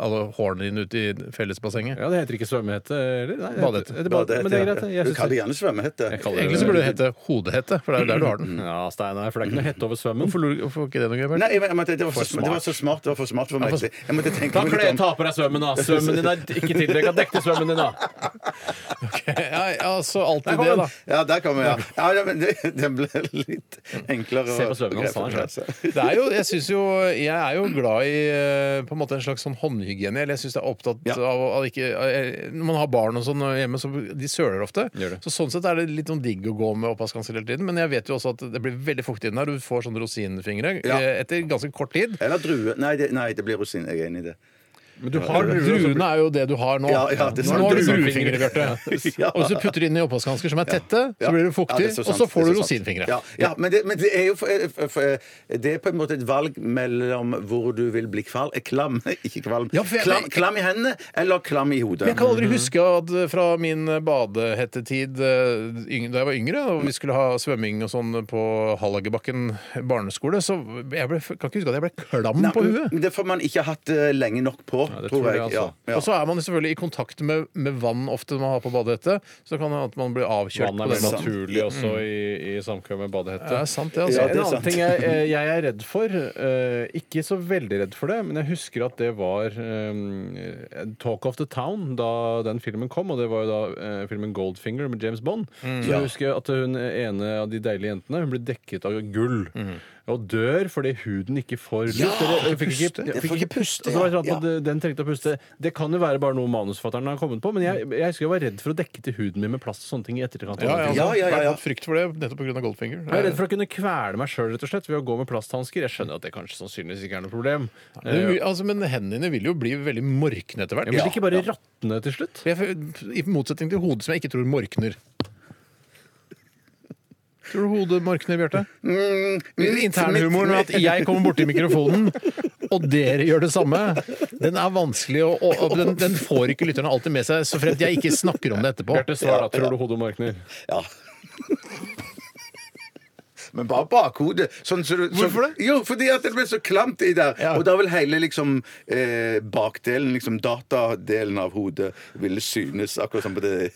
alle hårene dine ut i fellesbassenget. Ja, det heter ikke svømmehette eller? Nei, det Badehette. heter- det er bad- Badehette, Men det er ja. greit. det. Jeg Du synes kaller det det- gjerne svømmehette. Jeg kaller Mm. Egentlig så burde det hete hodehette, for det er jo der du har den. Mm. Ja, Steinar, for det er ikke noe hette over svømmen. Hvorfor lurer- hvorfor er ikke det noe gøy? Bjarte? Nei, jeg, jeg, måtte- det, var så, det var så smart. Det var for smart for meg. for- Jeg måtte tenke Ta meg kle, litt om. ta på deg svømmen, da! Svømmen din er ikke tildekka. Dekk til svømmen din, da! Ja, altså alltid kommer det, da. den. Ja, der kommer jeg. Ja, ja, men det, den ble litt enklere. Se på å svømmen hans, begrepe, han er altså. Det er jo, jeg, synes jo, jeg er jo glad i eh, på en måte en slags sånn håndhygiene. Eller jeg syns det er opptatt Ja. av at ikke eh, Når man har barn og sånn hjemme, så de søler ofte. Gjør det. Så sånn sett er det litt sånn digg å gå med oppvaskhansker hele tiden. Men jeg vet jo også at det blir veldig fuktig inni der. Du får sånne rosinfingre Ja. eh, etter ganske kort tid. Eller drue. Nei, det, nei, det blir rosin. Jeg er enig i det. Men du Har druene er jo det du har nå. Ja, ja, det er sant. nå har du Det er sant. druefingre, Bjarte. Ja. Og hvis du putter det inn i oppvaskhansker som er tette, Ja. så blir Ja, det fuktig, er så og sant. så får Det du er så sant. rosinfingre. Ja, ja men, det, men det er jo for, eh, for, for, Det er på en måte et valg mellom hvor du vil bli kval, eh, klam Ikke kvalm. Ja, for jeg- klam, klam i hendene eller klam i hodet. Men jeg kan aldri huske at eh, fra min badehettetid eh, yng- da jeg var yngre, og vi skulle ha svømming og sånn på Hallagerbakken barneskole, så jeg ble, kan ikke huske at jeg ble klam Nei, på huet. men Det får man ikke ha hatt eh, lenge nok på, det tror tror jeg, jeg. altså. Ja, ja. Og så er man jo selvfølgelig i kontakt med, med vann ofte når man har på badehette, så kan det hende at man blir avkjørt Vann på er den veldig måten. naturlig også i, i samkvem med Det badehette. er sant, det. Ja, altså. det En er annen sant. ting jeg, eh, jeg er redd for, eh, ikke så veldig redd for det, men jeg husker at det var eh, Talk of the Town da den filmen kom, og det var jo da eh, filmen Goldfinger med James Bond. Mm. så jeg husker at hun ene av de deilige jentene hun ble dekket av gull. Mm. Og dør fordi huden ikke får luft. eller- hun fikk ikke, Jeg fikk får ikke ikke puste, Og så var det ja, sånn at Den trengte å puste. Det kan jo være bare noe manusfatteren har kommet på, men jeg, jeg husker jeg var redd for å dekke til huden min med plast og sånne ting i etterkant. av Ja, ja, den filmen. Ja, altså, ja, ja, Jeg ja. har hatt frykt for det nettopp pga. Goldfinger. Jeg Eh, er redd for å kunne kvele meg sjøl rett og slett ved å gå med plasthansker. Jeg skjønner at det kanskje sannsynligvis ikke er noe problem. Men det er Eh, mye- altså, men hendene dine vil jo bli veldig morkne etter hvert. men vil det ikke bare råtne til slutt? Jeg føler- I motsetning til hodet, som jeg ikke tror morkner. Tror du hodet morkner, Bjarte? Internhumoren med at jeg kommer borti mikrofonen, og dere gjør det samme, den er vanskelig å å- å- den, den får ikke lytterne alltid med seg, så fremt jeg ikke snakker om det etterpå. Bjarte, svar da. Tror du hodet morkner? Ja. men bare bakhodet. Sånn, så du- så- Hvorfor det? Jo, fordi at det ble så klamt i der. Ja. Og da vil hele liksom eh, bakdelen, liksom datadelen av hodet, ville synes akkurat som på det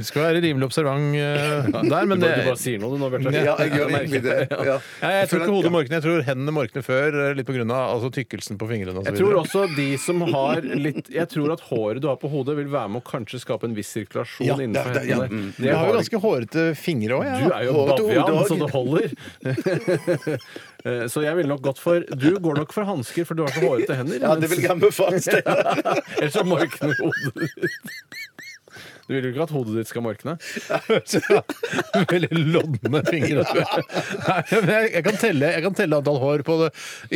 Du skal være rimelig observant eh, der, men Du det bare- du bare sier noe du nå, Bjarte. Ja, jeg gjør egentlig det. Ja. Nei, jeg tror føler ikke at- hodet morkner, jeg tror hendene morkner før, eh, litt på grunn av altså, tykkelsen på fingrene og så Jeg tror videre. også de som har litt Jeg tror at håret du har på hodet, vil være med å kanskje skape en viss sirkulasjon Ja, innenfor det- det- ja, hendene. mm. Det Jeg har jo har- ganske hårete fingre òg, jeg. Du da. er jo Håret og bavian, hodet så også. det holder. Eh, så jeg ville nok gått for Du går nok for hansker, for du har så hårete hender. Ja, det vil jeg anbefale. Steinar. Ellers så morkner hodet ditt. Du vil jo ikke at hodet ditt skal morkne? Veldig lodne fingre. Nei, men jeg, jeg, kan telle, jeg kan telle antall hår på det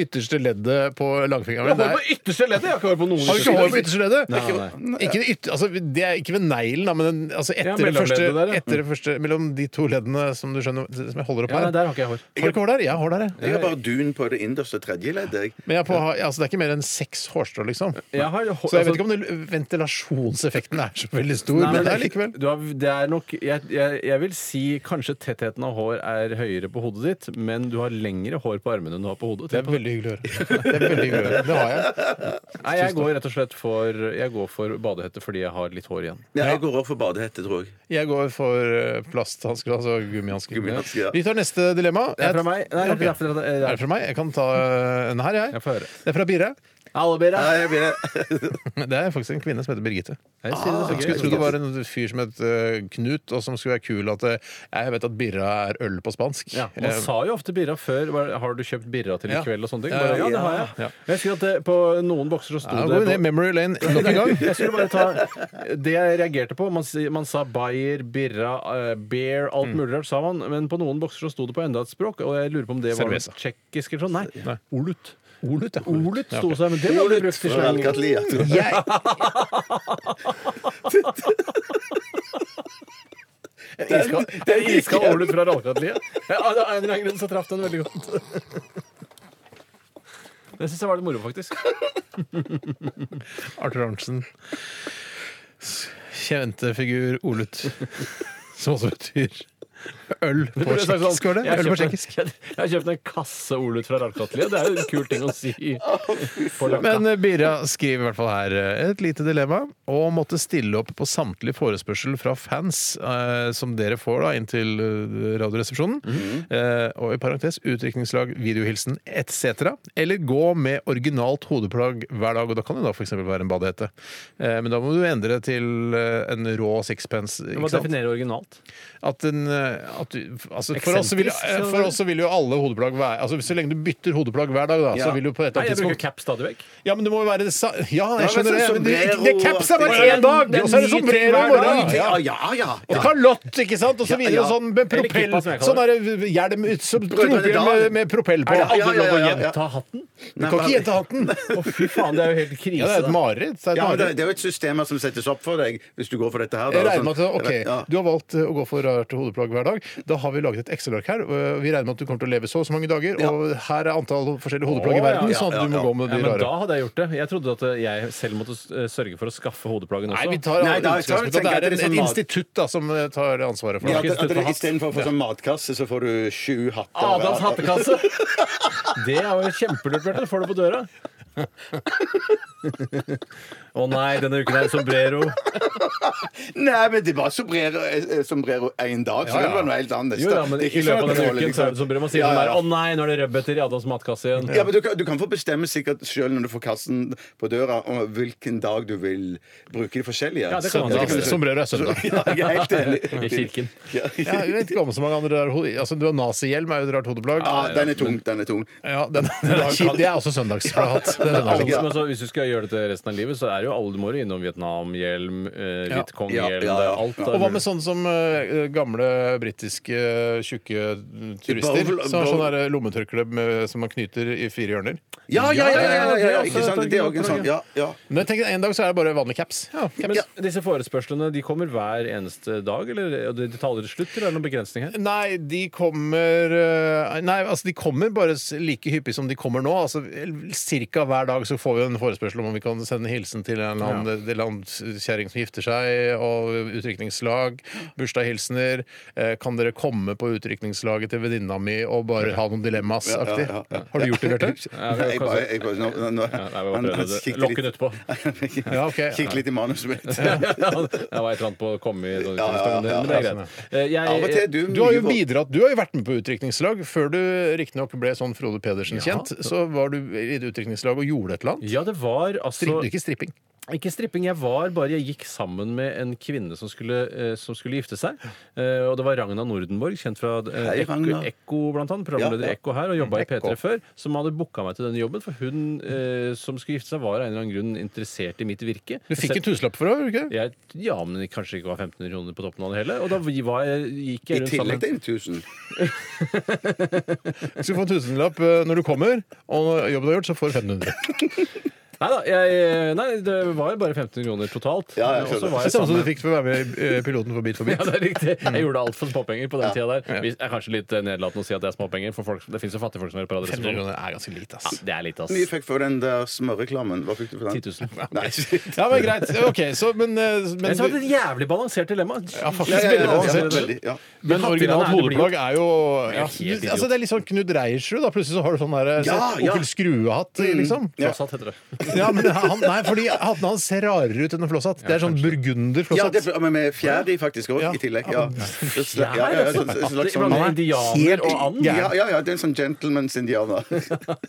ytterste leddet på langfingeren. Men det er, ytterste leddet! Jeg har ikke hår på noen. har du ikke hår på ytterste leddet? Nei, nei, Ikke, det ytter- altså, det er ikke ved neglen, da, men den- altså, etter, det mellomleddet første, der, ja. etter det første Mellom de to leddene som du skjønner som jeg holder opp Ja, nei, her. der har ikke jeg hår. Har du ikke hår der? Jeg har hår der, jeg. Jeg har bare dun på det innerste tredje leddet. jeg. Men jeg er på, altså, det er ikke mer enn seks hårstrå, liksom. Jeg har hår, Så jeg vet ikke om det, ventilasjonseffekten er så veldig stor, Nei, men det men er likevel. Du har, det er nok jeg, jeg, jeg vil si kanskje tettheten av hår er høyere på hodet ditt, men du har lengre hår på armene enn du har på hodet. Det er veldig hyggelig å høre. Det er veldig hyggelig å høre. Det har jeg. Nei, jeg går rett og slett for, jeg går for badehette fordi jeg har litt hår igjen. Ja, jeg går over for badehette, tror jeg. Jeg går for eh, plasthansker, altså gummihansker. Gummihansker, ja. Vi tar neste dilemma. Det er fra meg. Nei, det er fra- det Er er- det fra meg? Jeg kan ta eh, en her, jeg. Jeg får høre. Det er fra Birre. Nei, jeg vil Det er faktisk en kvinne som heter Birgitte. Jeg sier det Ah, så Jeg gøy. skulle tro det var en fyr som het eh, Knut, og som skulle være kul at eh, Jeg vet at Birra er øl på spansk. Ja, man Eh, sa jo ofte birra før. var- Har du kjøpt birra til i Ja. kveld? og sånne ting? Ja, ja, Bare, ja, det har jeg. ja. Jeg husker at det, på noen bokser så sto ja, nå går vi ned det memory lane nok en gang. Jeg skulle bare ta Det jeg reagerte på Man, si- man sa Bayer, Birra, eh, Bear, alt mulig rart, sa man. Men på noen bokser så sto det på enda et språk, og jeg lurer på om det var noe Cerveza. tsjekkisk eller sånn. Nei. Olut. Olut, ja. Olut Ja, sto ok. seg, men det ble aldri brukt i slang. det. Jeg, Iskald- Det er iskald olut fra Rallkatliet. Ja, av en eller annen grunn så traff den veldig godt. Det syns jeg var litt moro, faktisk. Arthur Arntzen. Kjente figur Olut. Som også betyr øl på Det burde sagt tsjekkisk, sånn, var det? Øl jeg på kjøpte- tsjekkisk. Jeg jeg har kjøpt en kasse olut fra Rallkatliet. Det er jo en kul ting å si. på Rallkatt. Men eh, Birra skriver i hvert fall her eh, et lite dilemma. Å måtte stille opp på samtlig forespørsel fra fans eh, som dere får da inn til eh, Radioresepsjonen, Mhm. eh, og i parentes utdrikningslag, videohilsen etc., eller gå med originalt hodeplagg hver dag. Og da kan det da f.eks. være en badehette. Eh, men da må du endre til eh, en rå sixpence. Du må Ikke sant? definere originalt. At en, eh, at du, altså, for, oss så vil, Eksentrisk, så- for oss så vil jo alle hodeplagg være altså, Så lenge du bytter hodeplagg hver dag, da, så Ja. vil du på et eller Nei, annet jeg bruker tidspunkt cap stadig vekk. ja, men det må jo være det sa... Ja, jeg Ja, men skjønner det. sånn Men det, sombrero- det er caps er bare Det er én dag, det er og så er det ni ting sombrero hver i morgen. dag. Ja. Ja, ja, ja. Og kalott, ikke sant? Og så videre. Ja, ja. Og sånn med Eller propell. kippa, som jeg Sånn kaller er det hjelm ut som Brødrene Dal. tropehjelm med, med propell på. Er det aldri ja, ja, lov ja, å ja. gjenta hatten? Du kan ikke gjette hatten. Å, fy faen, det er jo helt Ja, krise. det er et da. mareritt. Det er et Ja, men det, mareritt. det er jo et system som settes opp for deg hvis du går for dette her. da, Jeg og regner sånn. med at, ok, Ja. Du har valgt eh, å gå for rart hodeplagg hver dag. Da har vi laget et Excel-ark her. og Vi regner med at du kommer til å leve så og så mange dager. Og her er antall forskjellige hodeplagg i Å, ja, verden, ja, sånn at ja, du må ja. gå med Ja, de men da rare. hadde jeg gjort det. Jeg trodde at eh, jeg selv måtte eh, sørge for å skaffe hodeplaggen også. Nei, vi tar Nei, da- da utgangspunkt i at tenker jeg det at er det et er sånn mat- institutt da, som eh, tar det ansvaret for Ja, det. at, at det, Istedenfor for sånn matkasse, så får du sju hatter. Adams hattekasse! Det er jo kjempelurt, Bjarte. Får du på døra. Å nei, denne uken er det sombrero. Nei, men det var sombrero, eh, sombrero en dag, så Ja, ja. det var noe helt annet. Jo da, men Det er i ikke sånn at løpet av denne holder, uken så er det sombrero. Man sier Ja, sånn der ja. Å nei, nå er det rødbeter i Adams matkasse igjen. Ja, men du kan, du kan få bestemme sikkert sjøl når du får kassen på døra, om hvilken dag du vil bruke de forskjellige. Ja, det kan man Så- da. du- Sombrero er søndag. Ja, jeg er helt enig. I kirken. Ja, Ja, jeg vet ikke om så mange andre rare ho- Altså, du har nazihjelm, er jo et rart hodeplagg. ja, den er tung. Den er tung. Ja, den, den er kjip. Det er også søndagsplakat. Det er Alle, søndagsplakat. som- altså, hvis du skal gjøre det til resten av livet, så er det jo alle du må jo innom Vietnamhjelm, eh, Ja. Ja, Hvitkonghjelm, ja, ja. alt. er Og hva mulig. med sånn som eh, gamle britiske eh, tjukke turister? Bowl- Som har bowl- sånn der lommetørkle med- som man knyter i fire hjørner. Ja, ja, ja! ja, ja, ja, Ja, det er ikke også- sant? Det er også en sånn. Ja, ja. Men jeg tenker, en dag så er det bare vanlig caps. Ja, caps. Men disse forespørslene de kommer hver eneste dag, eller de de tar aldri slutt, eller er det noen begrensning her? Nei, de kommer eh, Nei, altså de kommer bare s- like hyppig som de kommer nå. Altså Ca. hver dag så får vi en forespørsel om om vi kan sende hilsen til til en eller annen til en eller annen kjerring som gifter seg, og utdrikningslag, bursdagshilsener. eh, Kan dere komme på utdrikningslaget til venninna mi og bare ha noen dilemmas-aktig? Ja, ja, ja. Har du gjort det, Bjarte? Ja, vi har Nei, jeg bare, jeg bare, nå, nå, nå, Ja, nei, vi bare prøvde det. kikker Lokken utpå. Ja, ok. Kikk litt i manuset mitt. Ja, det var et eller annet på å komme i sånn Ja, ja, ja, men det er ja, greit. Eh, Jeg, Av og til er du Du har jo mye- bidratt, du har jo vært med på utdrikningslag. Før du riktignok ble sånn Frode Pedersen kjent, så var du i et utdrikningslag og gjorde et eller annet. Ja, det var altså Stripp, ikke stripping. Ikke stripping. Jeg var bare Jeg gikk sammen med en kvinne som skulle, eh, som skulle gifte seg. Eh, og det var Ragna Nordenborg, kjent fra eh, Hei, Ekko, Ragna. Ekko blant annet. Programleder Ja, ja. Ekko her, og jobba i Ekko. P3 før. Som hadde booka meg til denne jobben. For hun eh, som skulle gifte seg, var av en eller annen grunn interessert i mitt virke. Du fikk en tusenlapp for det, gjorde du ikke? jeg, ja, men kanskje ikke var 1500 kroner på toppen av det hele. Og da var jeg, gikk I jeg rundt tillegg sammen til 1000. Du skal få en tusenlapp eh, når du kommer, og når jobben er gjort, så får du 500. Nei da, jeg, eh, nei, det var jo bare 1500 kroner totalt. Ja, jeg skjønner. Og så var Det jeg er samme som sammen du fikk for å være med i eh, Piloten for Bit for Ja, bit. det er riktig. Mm. Jeg gjorde alt for småpenger på den tida der. Hvis- Det er kanskje litt eh, nedlatende å si at det er småpenger, for folk, det fins jo fattige folk som hører på 500 Radioresepsjonen. kroner er ganske lite, Ja, ass. det er litt, ass. Hvor mye fikk for den der smørreklamen? Hva fikk du for den? 10 000. Nei, Ja, men greit. Ok, så, men, eh, Jeg men, synes det var du, et jævlig balansert dilemma. Ja, Ja, ja, faktisk ja, ja, veldig ja, avansert. veldig, ja. men originalt hodeplagg er jo ja, helt idiot. altså, Det er litt sånn Knut Reiersrud. da. Plutselig så har du sånn Ja, der, sett, ja. onkel Skrue-hatt, liksom. Trosshatt Mm, heter det. Ja, men han, nei, fordi hatten hans ser rarere ut enn en flosshatt. Det er sånn burgunder Ja, flosshatt. det, men med fjær i faktisk òg, Ja. i tillegg. Ja. Ja, ja, ja, sånn- sånn slags Iblant sånn- indianer og and. ja, ja, ja, det er en sånn gentlemans-indianer.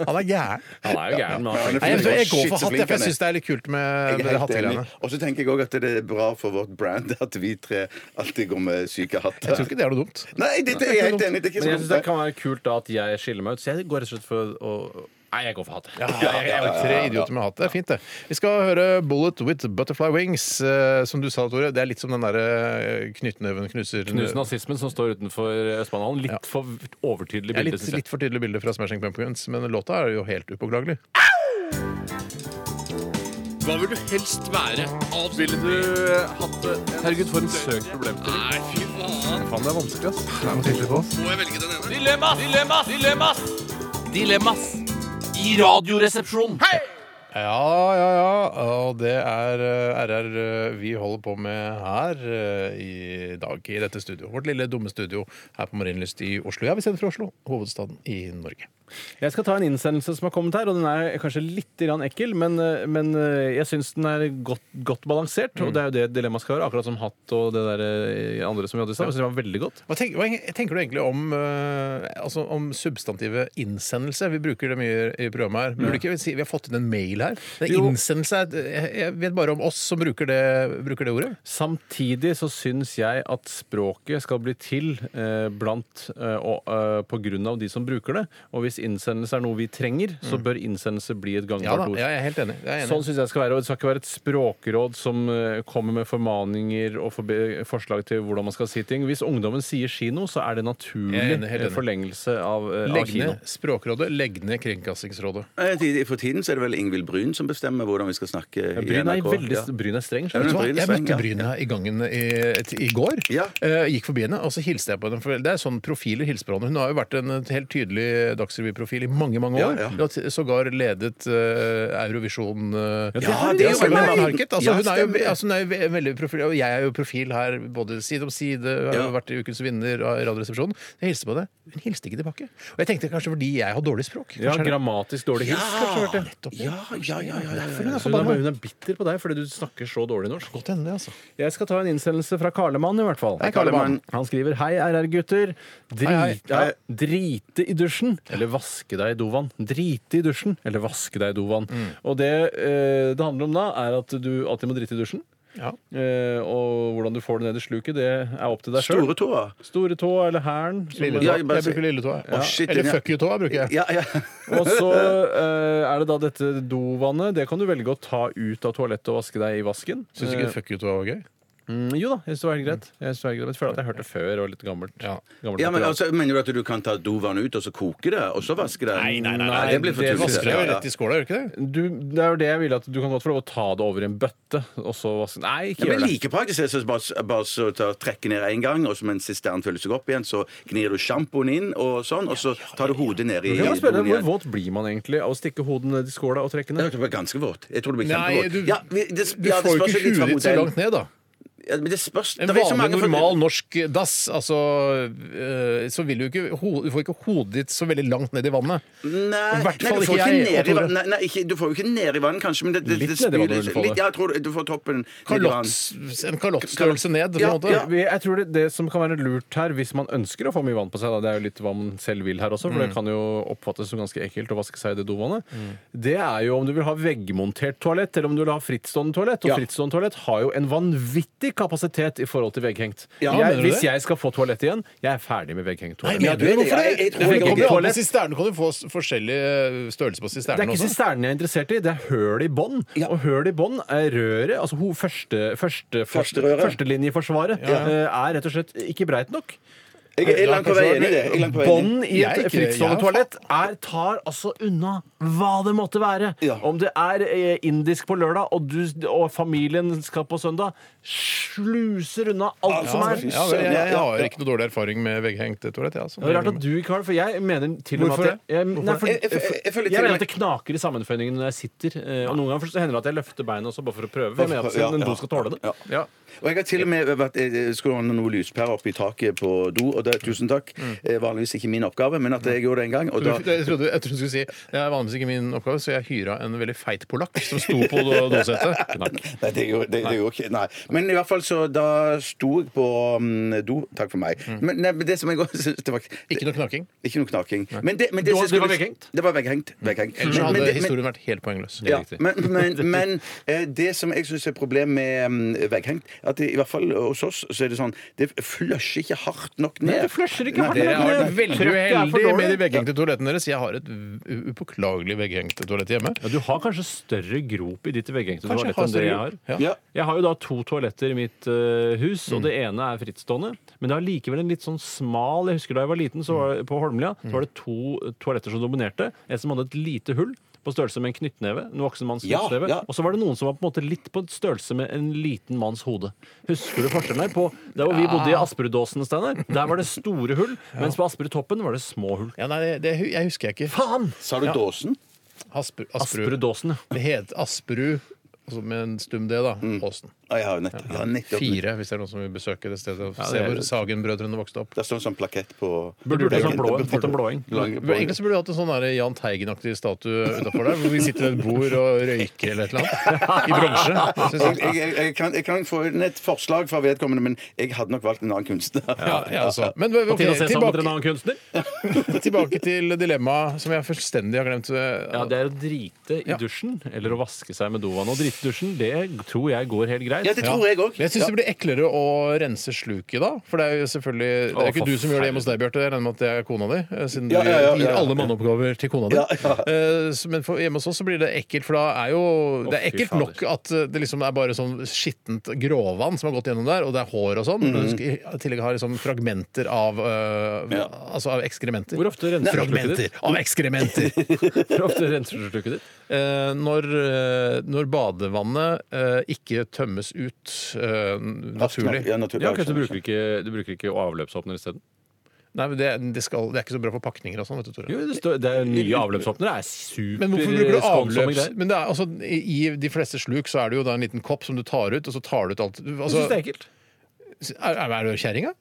Han er gæren. Han er jo Ja, gæren, men han er Nei, men jeg, jeg går Shit, for så hatt, flink jeg, for han jeg er. syns det er litt kult med Jeg det er helt enig. hattegreiene. Og så tenker jeg òg at det er bra for vårt brand at vi tre alltid går med syke Jeg tror hatter. ikke det er noe dumt. Nei, det, det er jeg helt enig. Det er ikke sånn- Men jeg så syns det kan være kult da at jeg skiller meg ut, så jeg går rett og slett for å Nei, jeg går for hatt. Jeg jeg er tre idioter med hatt. Det er fint, det. Vi skal høre 'Bullet with Butterfly Wings'. eh, Som du sa, Tore, det er litt som den derre knyttneven knuser Knus nazismen som står utenfor Østbanehallen. Litt for overtydelig Ja, bilde, litt, synes jeg. litt for tydelig bilde fra Smashing Pumpkins, men låta er jo helt upåklagelig. Hva vil du helst være? Alt ville du eh, Herregud, for en søk problem. Nei, fy faen. Faen, det er vanskelig, ass. Må jeg velge den ene? Dilemmas! Dilemmas! Dilemmas! Dilemmas i Radioresepsjonen. Ja, ja, ja. Og det er eh, RR eh, vi holder på med her eh, i dag i dette studio. Vårt lille dumme studio her på Marienlyst i Oslo. Ja, vi sender fra Oslo, hovedstaden i Norge. Jeg skal ta en innsendelse som har kommet her, og den er kanskje litt grann ekkel, men, eh, men jeg syns den er godt, godt balansert, Mm. og det er jo det dilemmaet skal være. Akkurat som hatt og det der eh, andre som vi hadde i stad. Jeg synes det var veldig godt. Hva tenker, hva tenker du egentlig om, eh, altså om substantivet innsendelse? Vi bruker det mye i programmet her. Burde ikke vi si vi har fått inn en mail her? Det er Jo. innsendelse er, jeg, jeg vet bare om oss som bruker det, bruker det ordet. Samtidig så syns jeg at språket skal bli til eh, blant eh, og eh, på grunn av de som bruker det. Og hvis innsendelse er noe vi trenger, så bør innsendelse bli et Mm. Ja da, gangbart ord. ja, jeg er helt enig. Jeg er enig. Sånn synes jeg det skal være, og Det skal ikke være et språkråd som eh, kommer med formaninger og forbe- forslag til hvordan man skal si ting. Hvis ungdommen sier kino, så er det naturlig Jeg er enig, helt eh, enig. forlengelse av, eh, av Legg kino. ned Språkrådet, legg ned Kringkastingsrådet. mange. For tiden så er det vel Ingvild Bryn som bestemmer hvordan vi skal snakke i Bryn er, NRK. veldig, Ja. Bryn er streng. Ja, skjønner Vet du du. hva? Bryne Jeg Sveng, møtte ja. Bryne i gangen i, et- i går. Ja. Eh, gikk forbi henne, og så hilste jeg på henne. For det er sånn profiler hilser på henne. Hun har jo vært en helt tydelig Dagsrevy-profil i mange mange år. Ja, ja. Hun har t- sågar ledet eh, Eurovision eh, det har det er jo Sølvi vært. Market. Altså, Ja, hun er jo stemmer. altså, hun er jo ve- veldig profil, og jeg er jo profil her både side om side. Hun har jo Ja. vært i Ukens vinner av Radioresepsjonen. Jeg hilste på henne. Hun hilste ikke tilbake. Og jeg tenkte kanskje fordi jeg har dårlig språk. Ja, Kanskje er det- grammatisk dårlig hils. kanskje, hørte jeg. Nettopp. Ja, ja, ja, ja, ja, ja. Så Hun er, hun er bitter på deg fordi du snakker så dårlig norsk. Godt hende, det, altså. Jeg skal ta en innsendelse fra Karlemann, i hvert fall. Hei, Karlemann. Han skriver Hei, RR-gutter. Drit, Hei, hei. ja, drite i dusjen eller vaske deg i dovann. Drite i dusjen eller vaske deg i dovann. Mm. Og det eh, det handler om da, er at du alltid må drite i dusjen. Ja. Eh, og hvordan du får det ned i sluket, det er opp til deg sjøl. Store tåa. Store tå eller hælen. som- Lille Ja, tåa. jeg bare Jeg sier- bruker lille tåa. Å, shit, Eller den er- fuck you-tåa bruker jeg. Ja, ja. Og så eh, er det da dette dovannet. Det kan du velge å ta ut av toalettet og vaske deg i vasken. Syns du ikke fuck you-tåa var gøy? Mm, jo da, jeg syns det var helt greit. Jeg, synes det var helt greit. jeg føler at jeg hørte det før og litt gammelt. gammelt Ja, men materiale. altså, Mener du at du kan ta dovannet ut og så koke det, og så vaske det? Nei, nei, nei, nei, det blir for det tullete. vasker Det er Ja, jo ja. Mm. rett i skåla, gjør det ikke det? du, det er jo det jeg ville at du kan godt få lov å ta det over i en bøtte, og så vaske Nei, Ja, ikke men gjør det. like praktisk er det så bare, bare så ta, trekke ned én gang, og så mens sisternen fyller seg opp igjen, så gnir du sjampoen inn, og sånn, og så tar du hodet ned i Jeg må spørre, doen Hvor igjen. våt blir man egentlig av å stikke hodet ned i skåla og trekke Jeg ned? hørte det var ganske våt. Jeg tror det blir Nei, kjempevåt. du- Ja, vi- det, Du ja, det får jo spørs ikke litt fra huet ditt så modellen. langt ned, da. Ja, men det spørs En det er så vanlig, mange for- normal norsk dass, altså eh, Så vil du ikke ho- Du får ikke hodet ditt så veldig langt ned i vannet. Nei, I hvert nei, fall du får ikke ikke jeg og ned i Tore. vann- Nei, nei, ikke, du får jo ikke ned i vannet, kanskje, men det, det, det, Litt ned i vannet spyr- liksom. vil du få det. litt- Ja, jeg tror du får toppen ned i vann. Kalotts, en kalottstørrelse ned, på en Ja, måte. ja. Vi- Jeg tror det, det som kan være lurt her, hvis man ønsker å få mye vann på seg, da, det er jo litt hva man selv vil her også, for Mm. det kan jo oppfattes som ganske ekkelt å vaske seg i det dovannet, det er jo om du vil ha veggmontert toalett, eller om du vil ha frittstående toalett. Og Ja. frittstående toalett har jo en vanvittig kapasitet i forhold til vegghengt. Ja, jeg, mener du hvis det? jeg skal få toalett igjen, jeg er ferdig med vegghengt men- toalett. Ja, du er det. Hvorfor Jeg- jeg tror For det ikke kommer jo an på toalett- sisternen kan du få s- forskjellig eh, størrelse på Det sisternen er ikke også. sisternen jeg er interessert i, det er høl i bånd. Og høl i bånd er røret, altså ho, første, første, første, Førsterøret. førstelinjeforsvaret, eh, er rett og slett ikke breit nok. Jeg er- jeg er langt på vei enig i det. Jeg er langt på vei enig. Bånd i Jeg er et ikke- frittstående jeg er toalett er, tar altså unna hva det måtte være. Om det er eh, indisk på lørdag, og, du, og familien skal på søndag, sluser unna alt som er. Ja, vel, jeg, jeg har ikke noe dårlig erfaring med vegghengt toalett. Jeg, altså. Det er rart at du ikke har det, for jeg mener til og med Hvorfor at jeg, jeg, nei, for, Jeg- jeg- jeg- jeg føler til jeg og mener med- at det knaker i sammenføyningene når jeg sitter. eh, Og noen ganger så hender det at jeg løfter beina også bare for å prøve. For jeg mener at Ja, en ja. do skal tåle det. Ja. Og jeg har til og med vært, jeg skulle ordne noen lyspærer oppe i taket på do, og det, tusen takk. Eh, Vanligvis ikke min oppgave, men at jeg gjorde det en gang. Og da, Jeg trodde, jeg trodde du skulle si Det er vanligvis ikke min oppgave, så jeg hyra en veldig feit polakk som sto på do- dosettet. nei, det gjorde det, det gjorde ikke Nei. Men i hvert fall så da sto jeg på mm, do. Takk for meg. Men nei, men det som jeg også synes det var Ikke noe knaking. Ikke noe knaking. Men det, men det, Du som var- jeg det var skulle- vegghengt? Det var vegghengt. vegghengt. Ellers så Men- men hadde det- men- historien vært helt poengløs. Ja, men, men, men eh, det som jeg syns er problemet med mm, vegghengt, at det, i hvert fall hos oss så er det sånn Det flusher ikke hardt nok ned. Nei, det flusher ikke hardt det er- nok ned. Dere er men veldig trøkket er for uheldige med de dårlig. vegghengte toalettene deres. Jeg har et u- upåklagelig vegghengt toalett hjemme. Ja, du har kanskje større grop i ditt veggengte Kanskje jeg toalett enn det jeg har har. større- Ja. Jeg har jo da to toaletter i mitt eh, hus, Mm. og det ene er frittstående. Men det har likevel en litt sånn smal Jeg husker da jeg var liten, så var det, på Holmlia Mm. så var det to toaletter som dominerte. Et som hadde et lite hull. På størrelse med en knyttneve. En voksen manns Ja, knyttneve. ja. Og så var det noen som var på en måte litt på størrelse med en liten manns hode. Husker du forskjellen her? På, der hvor vi bodde i Asperudåsen, Steinar, der var det store hull. Mens på Asperudtoppen var det små hull. Ja, nei, det, det, jeg husker jeg ikke. Faen! Sa du dåsen? Asper, Asperud. Asperudåsen, ja. Det het Asperud, altså med en stum D, da. Mm. Åsen. Ja, jeg har jo nettopp. Ja, nettopp. Fire, hvis det er noen som vil besøke det stedet og se det er- hvor Sagen-brødrene vokste opp. Det står en sånn plakett på Burde gjort det som Plakett- blå- fått en blåing. Blå- blåing. Egentlig så burde du hatt en sånn der Jahn Teigen-aktig statue utafor der, hvor vi sitter ved et bord og røyker eller et eller annet. I bronse. Jeg, synes jeg. jeg, jeg, jeg, kan, jeg kan få inn et forslag fra vedkommende, men jeg hadde nok valgt en annen kunstner. Ja, ja, altså. Men På ok, tide å se sammen med en tilbake, annen kunstner. tilbake til dilemmaet som jeg fullstendig har glemt. Ja, det er å drite i dusjen eller å vaske seg med dovann. Å drite i dusjen, det tror jeg går helt greit. Ja, det tror jeg òg. Men jeg syns det blir eklere å rense sluket da. For det er jo selvfølgelig Det er Å, ikke du som gjør det hjemme hos deg, Bjarte. Jeg regner med at det er kona di. eh, Siden du Ja, ja, ja, gir ja, ja. alle manneoppgaver til kona di. Ja, ja. Eh, så- Men for, hjemme hos oss så blir det ekkelt, for da er jo Det er fy ekkelt fader. nok at eh, det liksom er bare sånn skittent gråvann som har gått gjennom der, og det er hår og sånn. Men du skal i tillegg ha liksom fragmenter av eh, Mm. Ja. Altså av ekskrementer. Hvor ofte renser du sluket Fragmenter ditt? av ekskrementer! Hvor ofte renser du sluket ditt? Eh, når, eh, når badevannet eh, ikke tømmes ut eh, naturlig. Ja, naturlig. Ja, ok, sånn. så du bruker ikke, du bruker ikke avløpsåpner isteden? Nei, men det, det, skal, det er ikke så bra for pakninger og sånn, vet du, Tore. Jo, det, står, det er nye avløpsåpnere. Det er super Men hvorfor bruker du skånsomme avløps... greier. Men det er, altså, I i de fleste sluk så er det jo da en liten kopp som du tar ut, og så tar du ut alt Du- Jeg altså, syns det er ekkelt. er, er, er du kjerring, da?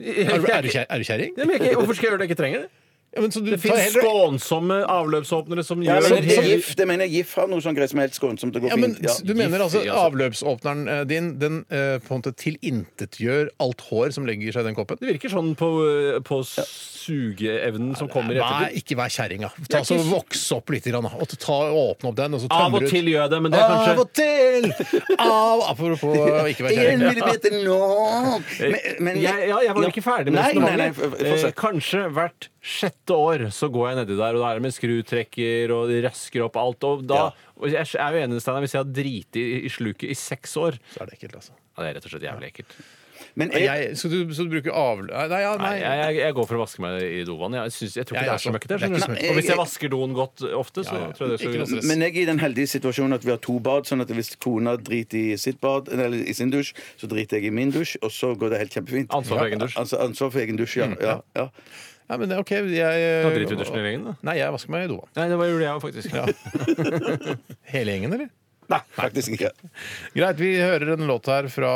Jeg- Er, du- er du jeg- kjer- er du kjerring? Ja, men jeg- Hvorfor skal jeg gjøre det jeg ikke trenger det? Ja, men så du Det tar finnes heller- skånsomme avløpsåpnere som Ja, gjør men det. GIF, det mener jeg GIF har noe sånn greit som er helt skånsomt og går ja, men fint. Ja. Du mener altså Giftig, altså. avløpsåpneren eh, din den eh, på en måte tilintetgjør alt hår som legger seg i den koppen? Det virker sånn på, på sugeevnen som kommer i Nei, ettertid. ikke vær kjerring, da. Ta så Voks opp litt, grann, da. og ta, åpne opp den, og så Av tømmer og du til ut. gjør jeg det, men det er kanskje Av og til! Av, apropos å ikke være En kjerring. millimeter nå! Men, men Eh, jeg, ja, jeg var ikke ferdig med Nei, nei, nei, resonnementet. fortsett. Eh, Kanskje vært sjette år så går jeg nedi der, og da er det med skrutrekker, og de røsker opp alt. Og da og Jeg er jo enig med Steinar, hvis jeg har driti i- i sluket i seks år Så er det ekkelt, altså. ja, Det er rett og slett jævlig ekkelt. Eh, Men jeg, Jeg, så, du, så du bruker avl... Nei, ja, Nei, nei. jeg, jeg, jeg går for å vaske meg i dovann. Jeg, synes, jeg tror Jeg ikke det er også. så møkkete. Det er ikke skjønner du. så møkkete. Og hvis jeg vasker doen godt ofte, så Ja, ja. tror jeg det Ikke noe skal stress. men jeg er i den heldige situasjonen at vi har to bad, sånn at hvis kona driter i sitt bad, eller i sin dusj, så driter jeg i min dusj, og så går det helt kjempefint. Ansvar for egen dusj. Altså, ansvar for egen dusj, ja. ja, ja. Ja, men det er OK. Jeg, eh, Da driter vi i dusjen hele gjengen, da. Nei, jeg vasker meg i doa. Nei, det var- gjorde jeg jo faktisk. Hele gjengen, eller? Nei, faktisk ikke. Greit, vi hører en låt her fra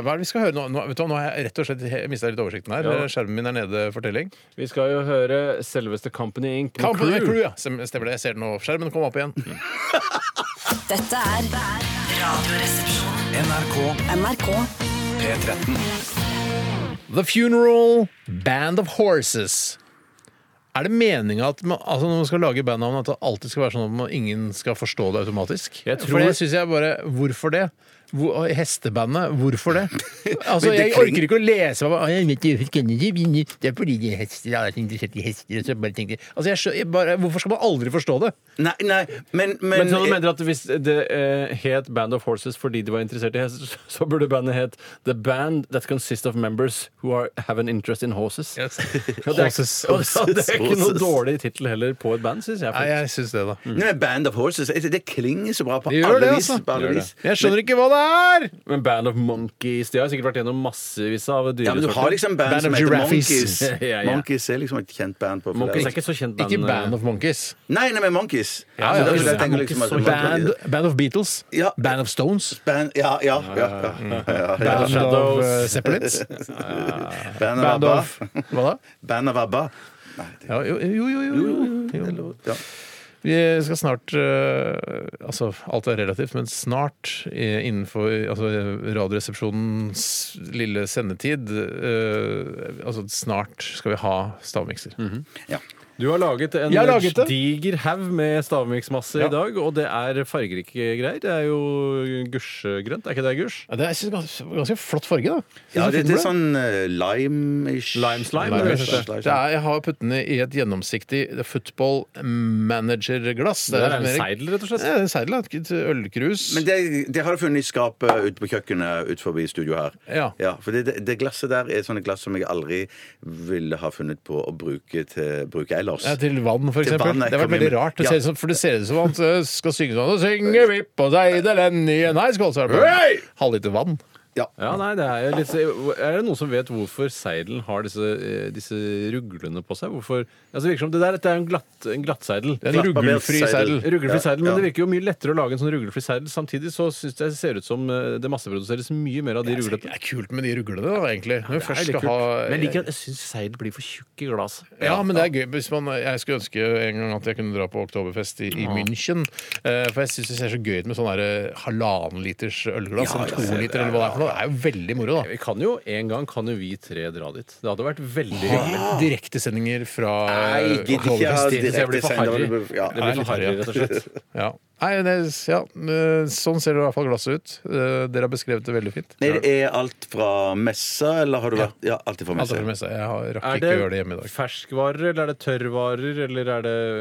Hva er det vi skal høre nå? nå vet du, hva, nå har jeg rett og slett mista litt oversikten her. Ja. Skjermen min er nede, fortelling. Vi skal jo høre selveste Company Inc. med Company Crew, ja. Stem- Stemmer det. Jeg ser den nå. Skjermen kom opp igjen. Dette er Radioresepsjonen. NRK. NRK. The Funeral Band of Horses. Er det meninga at man, altså når man skal lage bandnavn, at det alltid skal være sånn at man, ingen skal forstå det automatisk? Jeg tror- For det synes jeg bare Hvorfor det? Hvor, hestebandet, hvorfor det? Altså, Men det Jeg kling- orker ikke å lese hva jeg vet ikke, Det er fordi de er hester, jeg er så interessert i hester og så bare tenkte jeg- altså, jeg, skjø- jeg bare, Hvorfor skal man aldri forstå det? Nei, nei, men, men, Men så du mener at hvis det eh, het Band of Horses fordi de var interessert i hester, så- så burde bandet het The Band That Consists of Members Who are, Have an Interest in Horses? Ja, det er, Horses, Og det er ikke noe Mm. horses. dårlig tittel heller på et band, syns jeg. Nei, faktisk. jeg syns det, da. Nei, eh, Band of Horses, det det klinger så bra på Det gjør alle det, vis. altså. på alle Det gjør vis. Jeg skjønner ikke hva det er! Men Band of Monkeys De har sikkert vært gjennom massevis av Ja, men du har dyresorter. liksom band, Band som of heter giraffes. Monkeys. Ja, ja. Monkeys er liksom et kjent band. på Monkeys flere- er ikke så kjent band. eh. Ikke Band of Monkeys. Nei, nei, men Monkeys. Ja, Altså, ja, derfor ja. jeg tenker liksom at det var- Band, band of Beatles. Ja. Band of Stones. Band, ja, ja, ja, ja, ja, ja. Band of of Shadows. eh, Zeppelins. Band of Band ABBA. of Hva da? Band of ABBA. Nei, det, Ja, jo, jo, jo, jo, jo. jo. ja. Vi skal snart eh, Altså, alt er relativt, men snart eh, innenfor altså, Radioresepsjonens lille sendetid eh, Altså, snart skal vi ha stavmikser. Mhm. ja. Du har laget en Jeg har laget det. diger haug med stavmiksmasse Ja. i dag, og det er fargerike greier. Det er jo gusjegrønt, er ikke det gusj? Ja, det er ganske, ganske flott farge, da. ja, det, det er Fin blå. sånn eh, lime-ish Lime slime, Nei, det men- er det er, jeg har putt den i et gjennomsiktig football manager-glass. Det er en mer- seidel, rett og slett. Ja, det er en seidel, et- et ølkrus. Men det, det har du funnet i skapet ute på kjøkkenet ute forbi studio her. Ja. for det, det, det glasset der er sånne glass som jeg aldri ville ha funnet på å bruke, til, bruke ellers. Ja, til vann, for Til eksempel. vann, nei, det var kom veldig igjen. rart. Det Ja. ser ut som, for det ser ut som han øh, skal synge sånn Og synger vi på seidelen i en heiskål, så er det bare Hei! halvliter vann. Ja, nei, det er, jo litt, er det noen som vet hvorfor seidelen har disse, eh, disse ruglene på seg? Hvorfor, altså, det virker som det der dette er jo en, glatt, en glattseidel. Det er en Klapparbeids- ruglefri seidel. seidel. Ruglefri Ja, seidel, men ja. det virker jo mye lettere å lage en sånn ruglefri seidel. Samtidig så syns jeg det ser ut som eh, det masseproduseres mye mer av de Det ruglete. er kult med de ruglene, da, egentlig. Når vi Det er først litt skal kult. ha Men jeg liker at jeg syns seidel blir for tjukk i glasset. Ja, men det er gøy. Hvis man, jeg skulle ønske en gang at jeg kunne dra på oktoberfest i, i München. eh, For jeg syns det ser så gøy ut med sånn der, eh, halvannen liters ølglass. Ja, ja, eller to ja, liter, eller hva det er for noe. Det er jo veldig moro, da. Vi kan jo en gang kan jo vi tre dra dit. Det hadde vært veldig hyggelig. Direktesendinger fra Nei, gidder ikke jeg ha oktoberfest. Det blir for direktesender. harry. det blir- ja. Det blir for harry, rett og slett. Ja. Nei, det, ja. eh, Sånn ser det i hvert fall glasset ut. Eh, Dere har beskrevet det veldig fint. Nei, det er alt fra messa, eller har du vært Ja, alt er fra Alt messa. er med seg. Jeg har- rakk Er ikke å gjøre det hjemme i dag. ferskvarer, eller er det tørrvarer, eller er det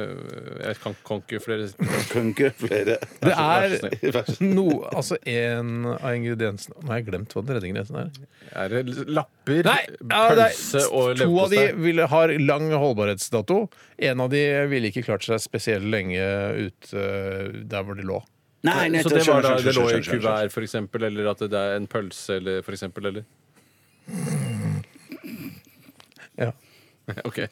Jeg kan, kan ikke flere Kunke, flere. Det vær så er noe Altså, en av ingrediensene Nå har jeg glemt hva den tredje ingrediensen er. Er det lapper, Nei, ja, det pølse er, og to av de leverpostei? vil, har lang holdbarhetsdato. En av de ville ikke klart seg spesielt lenge ute der hvor de lå. Nei, nei, Så jeg det var skjønner, da skjønner, det lå i skjønner, skjønner, skjønner. kuvert, for eksempel, eller at det er en pølse, eller for eksempel, eller Ja. OK. Jeg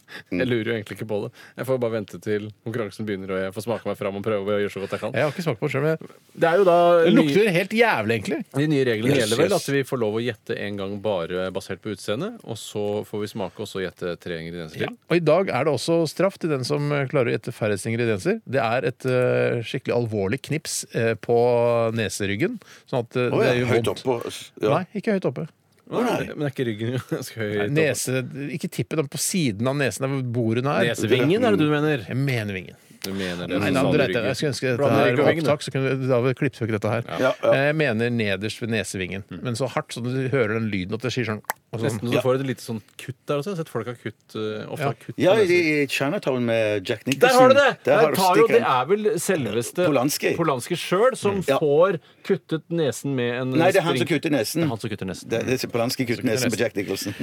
lurer jo egentlig ikke på det. Jeg får bare vente til konkurransen begynner, og jeg får smake meg fram og prøve å gjøre så godt jeg kan. Jeg har ikke smakt på det sjøl, men Det er jo da det nye- lukter helt jævlig, egentlig. De nye reglene Yes, gjelder vel yes. at vi får lov å gjette en gang bare basert på utseendet, og så får vi smake og så gjette tre ingredienser til. Og i dag er det også straff til den som eh, klarer å gjette færrest ingredienser. Det er et eh, skikkelig alvorlig knips eh, på neseryggen. Sånn at eh, Å, det ja, gjør høyt vondt. oppå. Ja. Nei, ikke høyt oppe. Men det er ikke ryggen ganske høy? topp? Nese, ikke tippet, men på siden av nesen der hvor bordene er. Nesevingen er det du mener? Jeg mener vingen. Du mener Nei, det. men da, sa du du rett, jeg ryggen. skulle ønske dette Blander her rygg og var vingen, opptak, så kunne, da hadde vi klippet vekk dette her. Eh, Ja, Mm. ja. Jeg mener nederst ved nesevingen, men så hardt så du hører den lyden at det sier sånn Og sånn. Nesten så du får et lite sånn kutt der også. Jeg har sett folk har kutt, eh, ofte har kutt. Ja, på nesen. i, i Chinatown med Jack Nicholson. Der har du det! Der har Der du tar jo, det stikkeren. er vel selveste Polanski. Mm. Polanski sjøl som Ja. får kuttet nesen med en Nei, det er han spring- som kutter nesen. Det er han som kutter nesen. Det, det er Polanski kutter nesen på Jack Nicholson.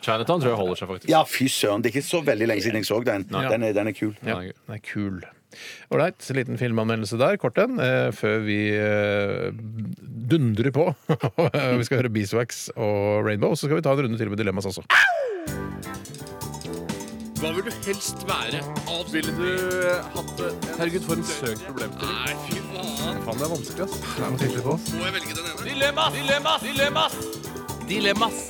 Chinatown tror jeg holder seg, faktisk. Ja, fy søren. Det er ikke så veldig lenge siden jeg så den. Den er, den er kul. Ja. Den er kul. Ålreit, liten filmanmeldelse der, kort en, eh, før vi eh, dundrer på. vi skal høre Beeswax og Rainbow, så skal vi ta en runde til med Dilemmas også. Hva vil du helst være? Ville du hatt det? Herregud, for en søk problemstilling. Nei, fy faen. Faen, det er vanskelig, ass. Må jeg velge den ene? Dilemmas! Dilemmas! Dilemmas! Dilemmas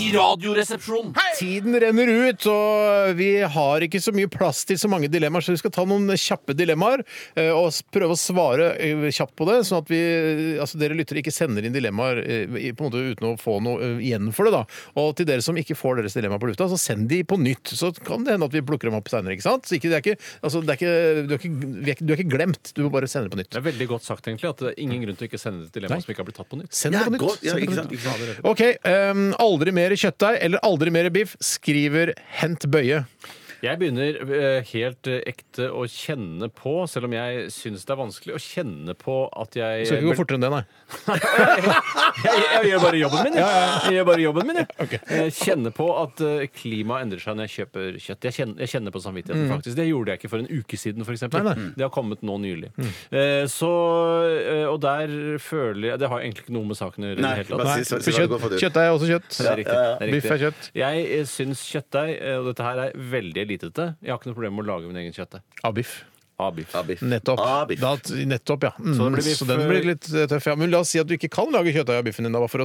i Radioresepsjonen. Tiden renner ut, og vi har ikke så mye plass til så mange dilemmaer, så vi skal ta noen kjappe dilemmaer eh, og s- prøve å svare eh, kjapt på det, sånn at vi, altså dere lyttere ikke sender inn dilemmaer eh, i- på en måte uten å få noe eh, igjen for det. da. Og til dere som ikke får deres dilemmaer på lufta, så send de på nytt. Så kan det hende at vi plukker dem opp seinere. Ikke sant? Så ikke, det er ikke, altså, det er ikke, du, er ikke, vi er ikke, du er ikke glemt, du må bare sende det på nytt. Det er veldig godt sagt, egentlig, at det er ingen grunn til å ikke sende det til dilemma som ikke har blitt tatt på nytt. Send det Ja, på nytt. godt. Ja, Send det på ikke nytt. sant, ikke sant. OK. ehm, aldri mer kjøttdeig eller aldri mer biff, skriver Hent Bøye. Jeg begynner eh, helt eh, ekte å kjenne på, selv om jeg syns det er vanskelig, å kjenne på at jeg Eh, Skal ikke gå fortere enn det, nei. jeg, jeg gjør bare jobben min, jeg. jeg gjør bare jobben min, jeg. Jeg kjenner på at eh, klimaet endrer seg når jeg kjøper kjøtt. Jeg kjenner, jeg kjenner på samvittigheten, Mm. faktisk. Det gjorde jeg ikke for en uke siden, f.eks. Det har kommet nå nylig. Mm. Eh, Så eh, Og der føler jeg Det har egentlig ikke noe med saken å gjøre. i Nei, det hele tatt. bare Nei, si- så- for så- kjøtt, gå for det. kjøttdeig er også kjøtt. Det er riktig. det er Biff er riktig. kjøtt. Jeg eh, syns kjøttdeig, eh, og dette her er veldig elitete Jeg har ikke noe problem med å lage min egen kjøttdeig. Av biff. Av biff. biff. Nettopp. Av Ah, biff. Da, nettopp, ja. Mm, så, den blir biff- den blir litt eh, tøff. Ja. Men la oss si at du ikke kan lage kjøttdeig av biffen din, da, bare for å,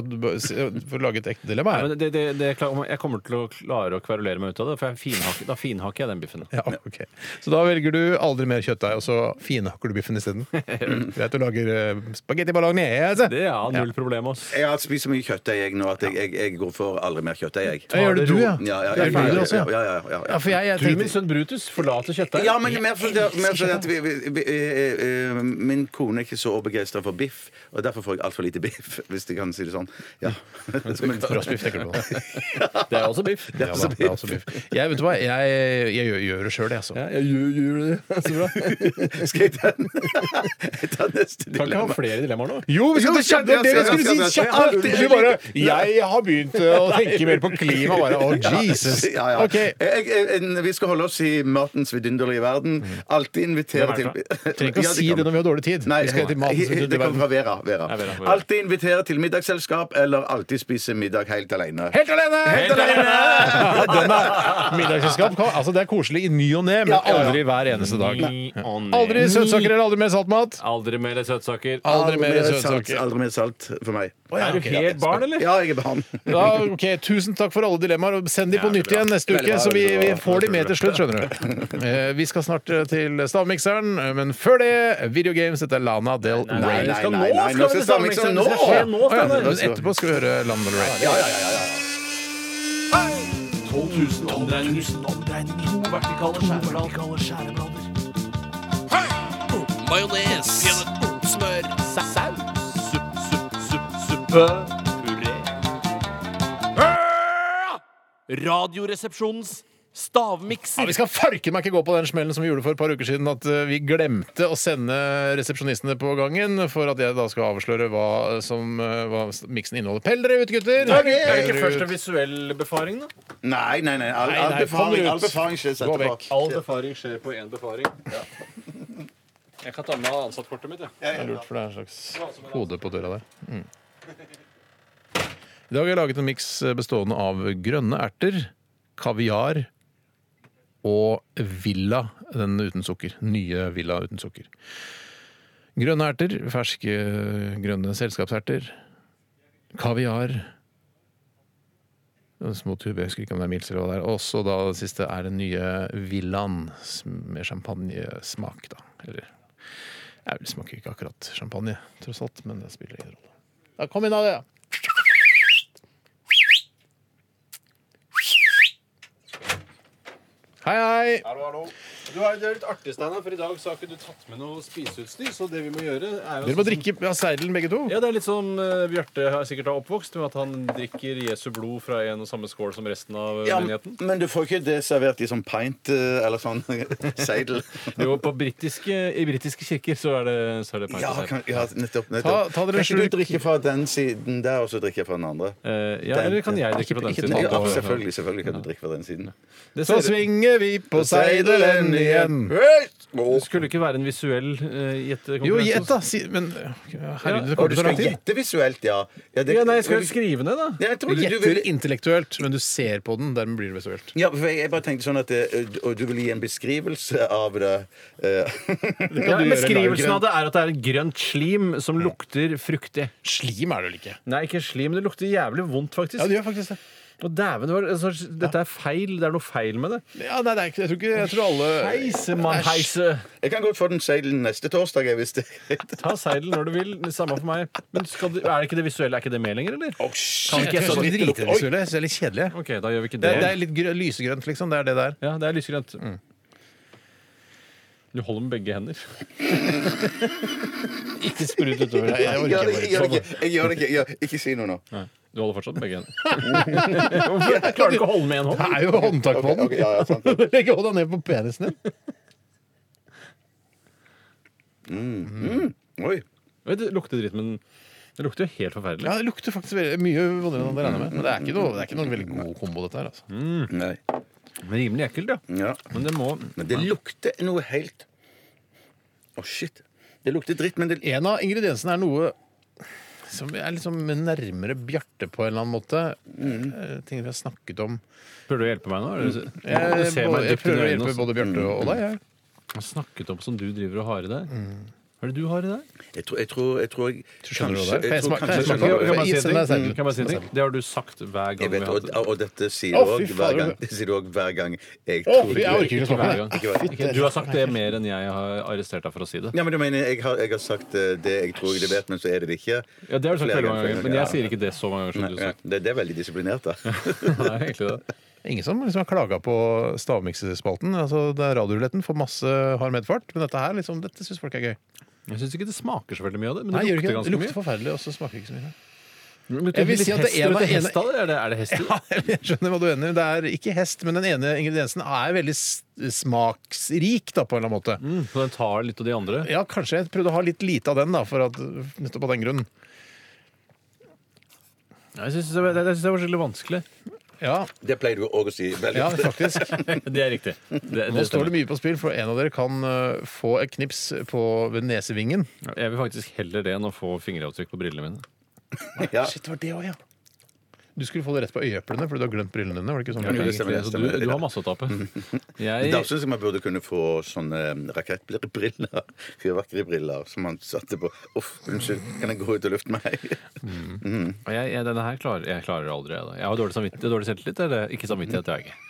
for å lage et ekte dilemma Nei, her. men det, det, det, jeg kommer til å klare å kverulere meg ut av det, for jeg finhakker, da finhakker jeg den biffen. Ja, ok. Så da velger du aldri mer kjøttdeig, og så finhakker du biffen isteden? Greit, du lager uh, spagetti bolognese. Det er null problem, ass. Jeg har spist så mye kjøttdeig jeg nå at jeg, jeg, jeg går for aldri mer kjøttdeig. Jeg. Ja, gjør det du, ja. Ja, ja, Det ja, er du ja, også, ja, ja, ja, ja. Ja, for jeg, jeg Du, min tenkte sønn Brutus, forlater kjøttdeig. Ja, men mer for det, mer for det at vi, vi, vi, eh, eh, Min kone er ikke så begeistra for biff, og derfor får jeg altfor lite biff, hvis jeg kan si det sånn. Ja. Men, Roastbiff, tenker du på. Det er også biff. Ja, da, det er også biff. Jeg, vet du hva? Jeg, jeg gjør, gjør det sjøl, jeg, altså. jeg gjør det. Så bra. skal jeg ta den? jeg tar neste Kan ikke ha dilemma. flere dilemmaer nå. Jo, vi skal Jo, ta kjapt! Det, kjapt, det ja, jeg skulle kjapt, si ja, kjapt. kjapt! Du bare Jeg har begynt eh, å tenke mer på klima, bare. Å, Jesus! Ja, ja. Ok. Jeg, jeg, en- vi skal holde oss i matens vidunderlige verden. Mm. Alltid invitere Hvem er til det Trenger ikke å si det når vi har dårlig tid. Nei, vi skal til matens det vidunderlige kommer fra verden. Vera. Vera. Ja, Vera, Vera. Alltid invitere til middagsselskap, eller alltid spise middag helt alene. Helt alene! Helt Ja, den er Middagsselskap kan- altså det er koselig i ny og ne, men Ja, ja, ja. aldri hver eneste dag. Ni og ni. Aldri søtsaker eller aldri mer saltmat. Aldri mer søtsaker. Aldri mer salt, altså. søtsaker. aldri mer salt for meg. Er du helt barn, eller? Ja, jeg er barn. Ja, ok, Tusen takk for alle dilemmaer. og Send de på Ja, det er nytt igjen neste Veldig uke, bra, så vi, veldig vi bra. får de med til slutt, skjønner du. Eh, Vi skal snart eh, til stavmikseren, eh, men før det videogames. Dette er Lana Del Nei, Rey. det skal nei, nå nei, nei, skal nå vi skal bestemme, vi liksom ikke sant? nå. Det skal skje nå, Å, ja, skal men det. Etterpå skal vi høre Lana Del Rey. Ja, ja, ja, ja. 12 000 omdreininger. 000 omdreininger. To vertikale skjæreblader. Majones. Smør. Saus. Supp, supp, supp, suppe. Puré. Radioresepsjonens Ja, stavmikser. vi skal farken meg ikke gå på den smellen som vi gjorde for et par uker siden, at eh, vi glemte å sende resepsjonistene på gangen for at jeg da skal avsløre hva, som, eh, hva miksen inneholder. Pell dere ut, gutter! Er det Pell ikke dere først ut. en visuell befaring, da? Nei, nei, nei. All, all Nei, nei, kom befaring, ut. all befaring skjer Gå etterpå. vekk. All befaring skjer på én befaring. Jeg kan ta med ansattkortet mitt, jeg. Det er lurt, for det er en slags kode på døra der. Mm. I dag har jeg laget en miks eh, bestående av grønne erter, kaviar og Villa, den uten sukker. Nye Villa uten sukker. Grønne erter, ferske eh, grønne selskapserter, kaviar Små tuber, jeg husker ikke om det er milser eller hva det er. Og så da det siste er den nye Villaen med champagnesmak, da. Eller jeg vil smaker ikke akkurat champagne, tross alt, men det spiller ingen rolle. Ja, kom inn av det! Hei, hei! Du har, det er litt artig, Steinar, for i dag så har ikke du tatt med noe spiseutstyr. Så det vi må gjøre, er jo Dere må drikke av seilen, begge to. sånn. Ja, det er litt som eh, Bjarte har sikkert har oppvokst med at han drikker Jesu blod fra en og samme skål som resten av eh, Ja, menigheten. men du får ikke det servert i sånn pint eh, eller sånn seidel. Jo, på britiske, I britiske kirker så er det, så er det Ja, pint. kan, ja, nettopp. nettopp. Ta- ta dere kan en ikke slurk. du drikke fra den siden der, og så drikker jeg fra den andre? Eh, ja, eller kan jeg drikke på den Ikke- siden? ikke- Ja, da- selvfølgelig, selvfølgelig kan du drikke fra den siden. Det Så ser, svinger vi på seidelen igjen. det skulle ikke være en visuell eh, Jo, gjettekonkurranse. gjett, da. Si, men herregud, det Og kommer du til å ta skal lang tid. gjette visuelt, ja. ja, det- Ja, nei, jeg skal jo skrive ned, da. Ja, jeg Du trodde du gjetter ville intellektuelt, men du ser på den. Dermed blir det visuelt. ja, for jeg jeg bare tenkte sånn at eh, Og du ville gi en beskrivelse av det. eh. Ja, du gjøre beskrivelsen av det er at det er et grønt slim som lukter fruktig. Slim er det vel ikke? Nei, ikke slim, men det lukter jævlig vondt, faktisk. Ja, det gjør faktisk det. Og dæven, det var en slags- dette er feil. Det er noe feil med det. Ja, nei, det er ikke, jeg tror ikke jeg tror alle Heise, mann, heise. Jeg kan godt få den seidelen neste torsdag, jeg, hvis det Ta seilen når du vil. Det samme for meg. Men skal det, er det ikke det visuelle? Er ikke det med lenger, eller? Kan ikke jeg så så litt litt dritvisuelle? Jeg synes det er litt kjedelig. OK, da gjør vi Det, ikke det. det er litt grø lysegrønt, liksom. Det er det der. Ja, det er lysgrønt. Du holder med begge hender. ikke sprut utover. Nei, jeg orker Jeg ikke. gjør det ikke. Jeg gjør det ikke. Jeg gjør- Ikke si noe nå. Du holder fortsatt med begge hender. Hvorfor klarer du ikke å holde med én hånd? Det er jo håndtak på Ok, ok, ja, ja, sant. den. Legg hånda ned på penisen din. Oi. Vet du, Det lukter dritt, men det lukter jo helt forferdelig. Ja, Det lukter faktisk veldig, mye vondere enn jeg regna med. Men det er ikke noe, det er ikke noen veldig god kombo, dette her. altså. Nei. Men Rimelig ekkelt, ja. Ja. Men det må Men det lukter noe helt Å, shit. Det lukter dritt, men det En av ingrediensene er noe som er liksom nærmere Bjarte på en eller annen måte. Eh, Ting vi har snakket om. Prøver du å hjelpe meg nå? Er det- Jeg, Du ser både- meg jeg dypt i prøver å øynene hjelpe og både Bjarte og deg. jeg. Jeg har snakket om som du driver og har i deg. Hva er det du har i deg? Jeg tror jeg, tror, jeg, tror jeg kanskje- Skjønner du hva det er? jeg tror Kan jeg kanskje- smake- kan jeg smake på det? Kan jeg bare si en Send meg ting? seddelen. Kan jeg bare si en ting? Det har du sagt hver Jeg gang. vi vet, har og, hatt det. og dette sier Å, du òg fy hver fader. gang. Det sier du også hver gang jeg Å, tror fy, jeg orker ikke Hver snakke om gang. det. Ikke hver- Du har sagt det mer enn jeg har arrestert deg for å si det. Ja, men du mener, jeg har, jeg har sagt eh, det jeg tror jeg det vet, men så er det det ikke. Ja, det har du sagt Flere veldig mange ganger, men ja. jeg sier ikke det så mange ganger som Nei, du ja, har sagt. det, det er veldig disiplinert, da. Nei, egentlig det. Ingen som liksom har klaga på stavmiksespalten. Altså, det er Radioruletten får masse hard medfart, men dette her liksom, dette syns folk er gøy. Jeg syns ikke det smaker så veldig mye av det, men Nei, gjør det lukter ikke det. det ganske lukter mye. forferdelig, og så smaker det ikke så mye. Men Jeg vil litt si at det hest- ene- lukter ene- hest av det. Er det, er det hest i det? Ja, jeg skjønner hva du mener. Det er ikke hest, men den ene ingrediensen er veldig s- smaksrik, da, på en eller annen måte. Mm, Så den tar litt av de andre? Ja, kanskje jeg prøvde å ha litt lite av den, da, for at, nettopp av den grunnen. Jeg syns det, det, det synes jeg var skikkelig vanskelig. Ja, Det pleier du òg å si veldig ja ofte. faktisk. Det er riktig. Det, Nå står det mye på spill, for en av dere kan eh, få et knips på, ved nesevingen. Jeg vil faktisk heller det enn å få fingeravtrykk på brillene mine. Ja. Shit, var det også, ja. Du skulle få det rett på øyeeplene, fordi du har glemt brillene dine. var det ikke sånn? Ja, det stemmer. Så du, du har masse å tape. Jeg, Da syns jeg man burde kunne få sånne eh, rakettbriller. Fyrverkeribriller som man satte på. Uff, unnskyld, kan jeg gå ut og lufte meg? jeg, jeg, denne her klarer jeg klarer aldri. Jeg, da. jeg har dårlig samvittighet. Dårlig selvtillit eller ikke samvittighet? Det har jeg ikke.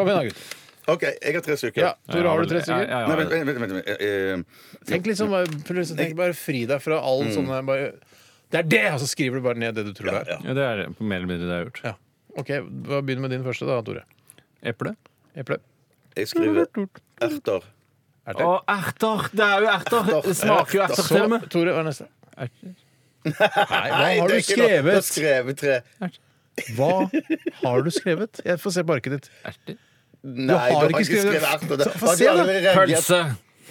Kom igjen, da, gutt. OK, jeg har tre stykker. Ja, Tore, har du tre Jeg- stykker? jeg- Nei, jeg- vent, vent, vent, vent, vent. eh, eh, Tenk liksom, bare, prøv å tenke, bare fri deg fra all sånne bare, Det er det! Og så skriver du bare ned det du tror det er. ja. Ja, det er mer eller mindre det jeg har gjort. Ja. OK, hva begynner med din første, da, Tore. Eple. Eple. Jeg skriver erter. Erter. Å, erter! Det er jo erter! Det smaker jo erter Så, til og med. Tore, hva er neste? Nei, har det er du ikke noe. Jeg har skrevet? skrevet tre. Hva har du skrevet? Jeg får se på arket ditt. Erter. Nei, du har ikke skrevet erter. Da- Få Har de se, da. allerede reagert? Pølse.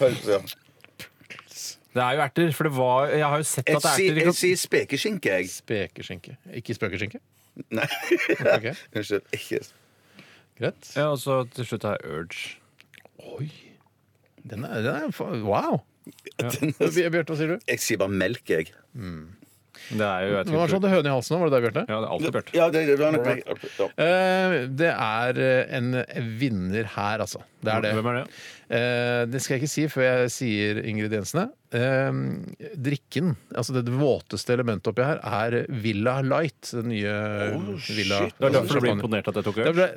Pølse. Det er jo erter, for det var Jeg har jo sett Jeg at det er sier erter. jeg sier spekeskinke, jeg. Spekeskinke. Ikke spøkeskinke? Nei. Ok, Unnskyld. Ikke Greit. Ja, og så til slutt har jeg urge. Oi. Den er, den er fa- Wow! Bj- Bjarte, hva sier du? Jeg sier bare melk, jeg. Det er jo jeg Nå var det sånn tror- at det høne i halsen nå, var det deg, Bjarte? Ja, det er alltid Bjarte. Ja, det, det var nok meg. Ja. Eh, Det er eh, en vinner her, altså. Det er det. Hvem er det? Eh, Det skal jeg ikke si før jeg sier ingrediensene. Eh, Drikken, altså det våteste elementet oppi her, er Villa Light. Den nye Villa Det er derfor du ble champagne. imponert at jeg tok Det urge? ble,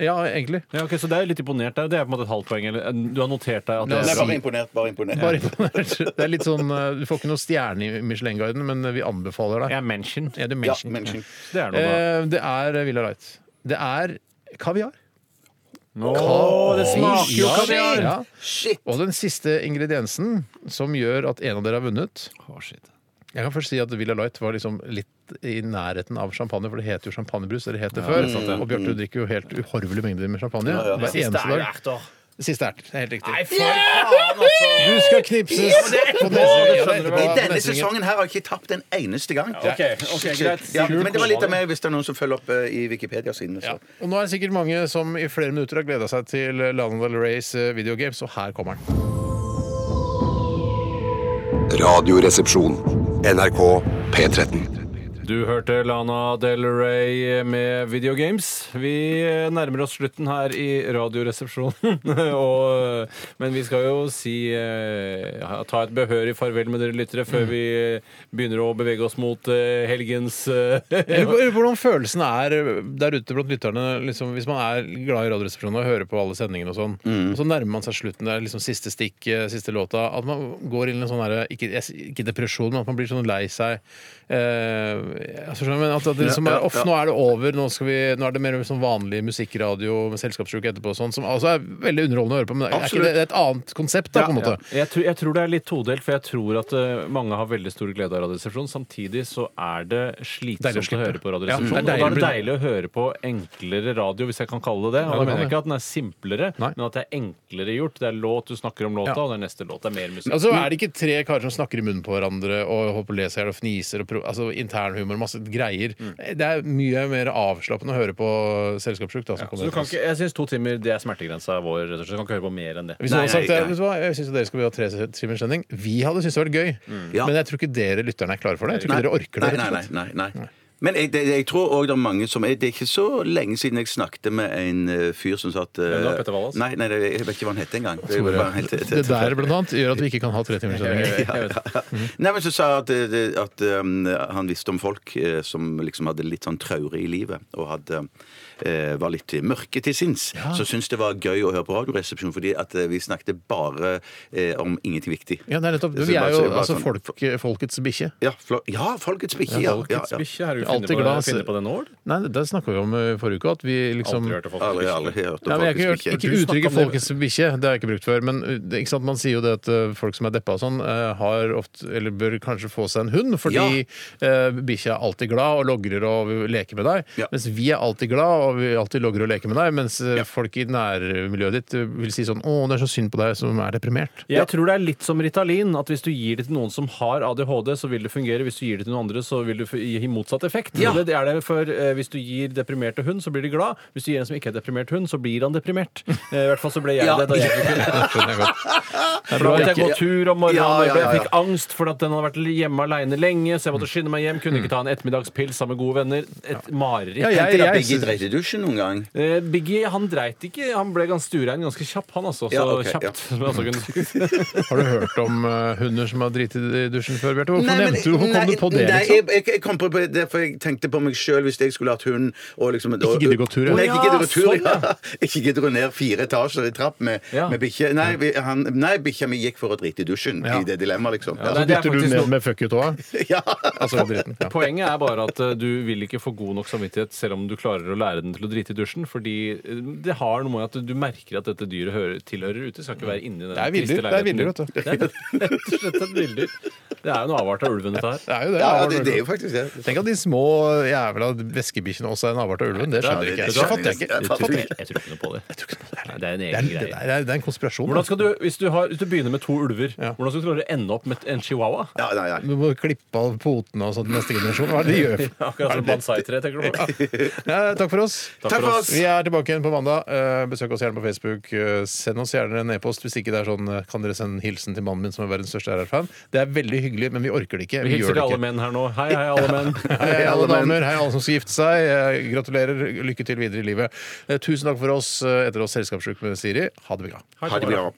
ja, egentlig. Ja, ok, Så det er litt imponert der. Det er på en måte et halvt poeng. Eller, du har notert deg at det Ja, Nei, er bare imponert. Bare imponert. Bare imponert. Det er litt sånn eh, Du får ikke noe stjerne i Michelin-guiden, men eh, vi anbefaler deg. Jeg er mentioned. Er Eh, det Ja, mention? mennesken. Det er noe da. Eh, Det er Villa Light. Det er kaviar. Åh, det smaker jo kaviar! Ja. Og den siste ingrediensen som gjør at en av dere har vunnet Å, shit. Jeg kan først si at Villa Light var liksom litt i nærheten av champagne, for det heter jo champagnebrus. Eller het det før. Og Bjarte du drikker jo helt uhorvelige mengder med champagne. Hver Siste eneste er jo dag. erter. Siste erter. Det er Helt riktig. Nei, for faen, altså! Du skal knipses! på nesen. I På denne nesingen. sesongen her har jeg ikke tapt en eneste gang. Ok, ok, greit. Ja, men det var litt av meg hvis det er noen som følger opp eh, i Wikipedia-siden. Ja. så. Og nå er det sikkert mange som i flere minutter har gleda seg til Lana Del Reys eh, videogame, så her kommer den. Radioresepsjon. NRK P13. Du hørte Lana Del Rey med Videogames. Vi eh, nærmer oss slutten her i Radioresepsjonen. og, men vi skal jo si eh, ha- ta et behørig farvel med dere lyttere før vi begynner å bevege oss mot eh, helgens Jeg eh, lurer på Hvordan følelsen er eh, der ute blant lytterne liksom, hvis man er glad i Radioresepsjonen og hører på alle sendingene og sånn, og så nærmer man seg slutten, det er liksom siste stikk, eh, siste låta, at man går inn i en sånn derre ikke, jeg sier ikke depresjon, men at man blir sånn lei seg. Eh, altså, skjønner du, men at, at det liksom er, off, Nå er det over, nå, skal vi, nå er det mer sånn vanlig musikkradio med selskapssjuke etterpå og sånn, som altså er veldig underholdende å høre på, men er ikke det, det er et annet konsept, da, på en måte. Jeg, tror, jeg tror det er litt todelt, for jeg tror at eh, mange har veldig stor glede av Radioresepsjonen. Samtidig så er det slitsomt Deilig å å, slippe. høre på Ja, Radioresepsjonen. det er og da er det deilig deilig å høre på enklere radio, hvis jeg kan kalle det det. Og Ja, det da kan mener jeg det. ikke at den er simplere, Nei. men at det er enklere gjort. Det er låt, du snakker om låta, Ja. og det er neste låt. Det er mer musikk. Altså, er det ikke tre karer som snakker i munnen på hverandre og holder på å lese her og fniser og pro altså, internhumor og masse greier? Mm. Det er mye mer avslappende å høre på selskapssjukt. da, som kommer så du kan etter oss. ikke, jeg syns to timer det er smertegrensa vår. rett og slett. Du kan ikke høre på mer enn det. Hvis noen hadde sagt vet du hva, jeg syns dere skulle ha tre timers sending, vi hadde syntes det var gøy. Mm. Ja. Men jeg tror ikke dere lytterne er klare for det. Jeg tror ikke dere orker det. Nei, rett og nei, slett. nei, nei, nei. Men jeg, det, jeg tror òg det er mange som er, Det er ikke så lenge siden jeg snakket med en eh, fyr som satt eh, Hvem da, Petter Wallas? Nei, nei, det- jeg vet ikke hva han het engang. Det, var bare helt- helt- Det der blant annet gjør at vi ikke kan ha tre timers sending. Mhm. Nei, men så sa jeg at, eh, det- at um, han visste om folk eh, som liksom hadde litt sånn traure i livet, og hadde, eh, var litt mørke til sinns. Så syntes det var gøy å høre på Radioresepsjonen, fordi at eh, vi snakket bare eh, om ingenting viktig. Ja, det er nettopp. Så Vi bare- er så jo bare altså sånn- folk, folkets bikkje. Ja, flo- ja, folkets bikkje. Ja, ja, Folkets ja. bikkje, har du Alltid funnet på, glad, det- funnet på det nå? eller? Nei, det snakka vi om i forrige uke, at vi liksom Aldri hørt om Aldri, folkets aldri bikkje. hørt Ja, om men jeg har ikke folkets hørt bikkje. ikke uttrykket 'folkets bikkje'. Det har jeg ikke brukt før. Men uh, det- ikke sant, man sier jo det at uh, folk som er deppa og sånn, uh, har ofte, eller bør kanskje få seg en hund, fordi uh, bikkja er alltid glad og logrer og vil leke med deg. Ja. Mens vi er alltid glad og vi alltid logrer og leker med deg. Mens uh, folk i nærmiljøet ditt uh, vil si sånn 'Å, det er så synd på deg som er deprimert'. Jeg tror det er litt som Ritalin. at Hvis du gir det til noen som har ADHD, så vil det fungere. Hvis du gir det til noen andre, så vil det f- gi motsatt effekt. Det er det for eh, Hvis du gir deprimerte hund, så blir de glad. Hvis du gir en som ikke er deprimert hund, så blir han deprimert. Eh, I hvert fall så ble jeg det da jeg fikk hund. Det skjønner jeg godt. For da måtte jeg gå tur om morgenen, Ja, og jeg, ja, ja, ble, jeg ja. fikk angst for at den hadde vært hjemme aleine lenge, så jeg måtte skynde meg hjem. Kunne Mm. ikke ta en ettermiddagspils sammen med gode venner. Et mareritt. Ja, jeg, Hendte det at jeg, Biggie dreit i dusjen noen gang? Eh, Biggie han dreit ikke. Han ble ganske sturein ganske kjapp, han altså. Så Ja, ok, ja. kjapt. som jeg også kunne si. har du hørt om uh, hunder som har driti i dusjen før, Bjarte? Hvorfor Nei, men- nevnte du Hvorfor kom nei, du på det? Nei, liksom? jeg, jeg, jeg kom på det, for jeg tenkte på meg sjøl hvis jeg skulle hatt hund. Og liksom, Ikke gidde gå tur, ja. sånn, Nei, ikke gidde gå tur, Å, ja, ja. Ikke gidde gå ned fire etasjer i trapp med, Ja. med bikkje. Nei, vi- han- nei, bikkja mi gikk for å drite i dusjen i det dilemmaet, liksom. Ja. Nei, Så det er dytter du faktisk noe- ned med fuck you-tåa? Ja. Altså dritten. Ja. Poenget er bare at eh, du vil ikke få god nok samvittighet selv om du klarer å lære den til å drite i dusjen, fordi eh, det har noe med at du merker at dette dyret hører, tilhører ute. Skal ikke være inni den Det er villdyr, triste det er leiligheten villdyr, din. vet du. Det er rett og slett et villdyr. Det er jo en avart av ulven, dette her. Det er jo det. Ja, jeg har det, hørt det er om. jo faktisk det. Tenk at de små jævla væskebikkjene også er en avart av ulven. Det skjønner jeg ikke. det Det skjønner fatter jeg jeg ikke. Jeg Det tror fatter jeg ikke ikke. jeg tror ikke noe på det. Nei, Det er en Det egen er, det, greie. er, det er en konspirasjon. Hvordan skal du, hvis du, har, hvis du begynner med to ulver, Ja. hvordan skal du klare å ende opp med en chihuahua? Ja, nei, nei. Du må klippe av potene og sånn til neste generasjon. Hva er det de gjør? Akkurat som bonsai-tre, tenker du på? Ja, takk for oss. Takk for oss. Vi er tilbake igjen på mandag. Eh, Besøk oss gjerne på Facebook. Eh, Send oss gjerne en e-post hvis ikke det er sånn eh, Kan dere sende en hilsen til mannen min som er verdens største RR-fan? Det er veldig hyggelig, men vi orker det ikke. Vi Vi hilser gjør til det alle ikke. menn her nå. Hei, hei, alle menn. Hei, hei, alle alle menn. damer. Hei, alle som skal gifte seg. Eh, Gratulerer. Lykke til videre i livet. Eh, Tusen takk for oss. Eh, Etter oss Selskapssjuk med Siri. Ha det bra. Ha det bra.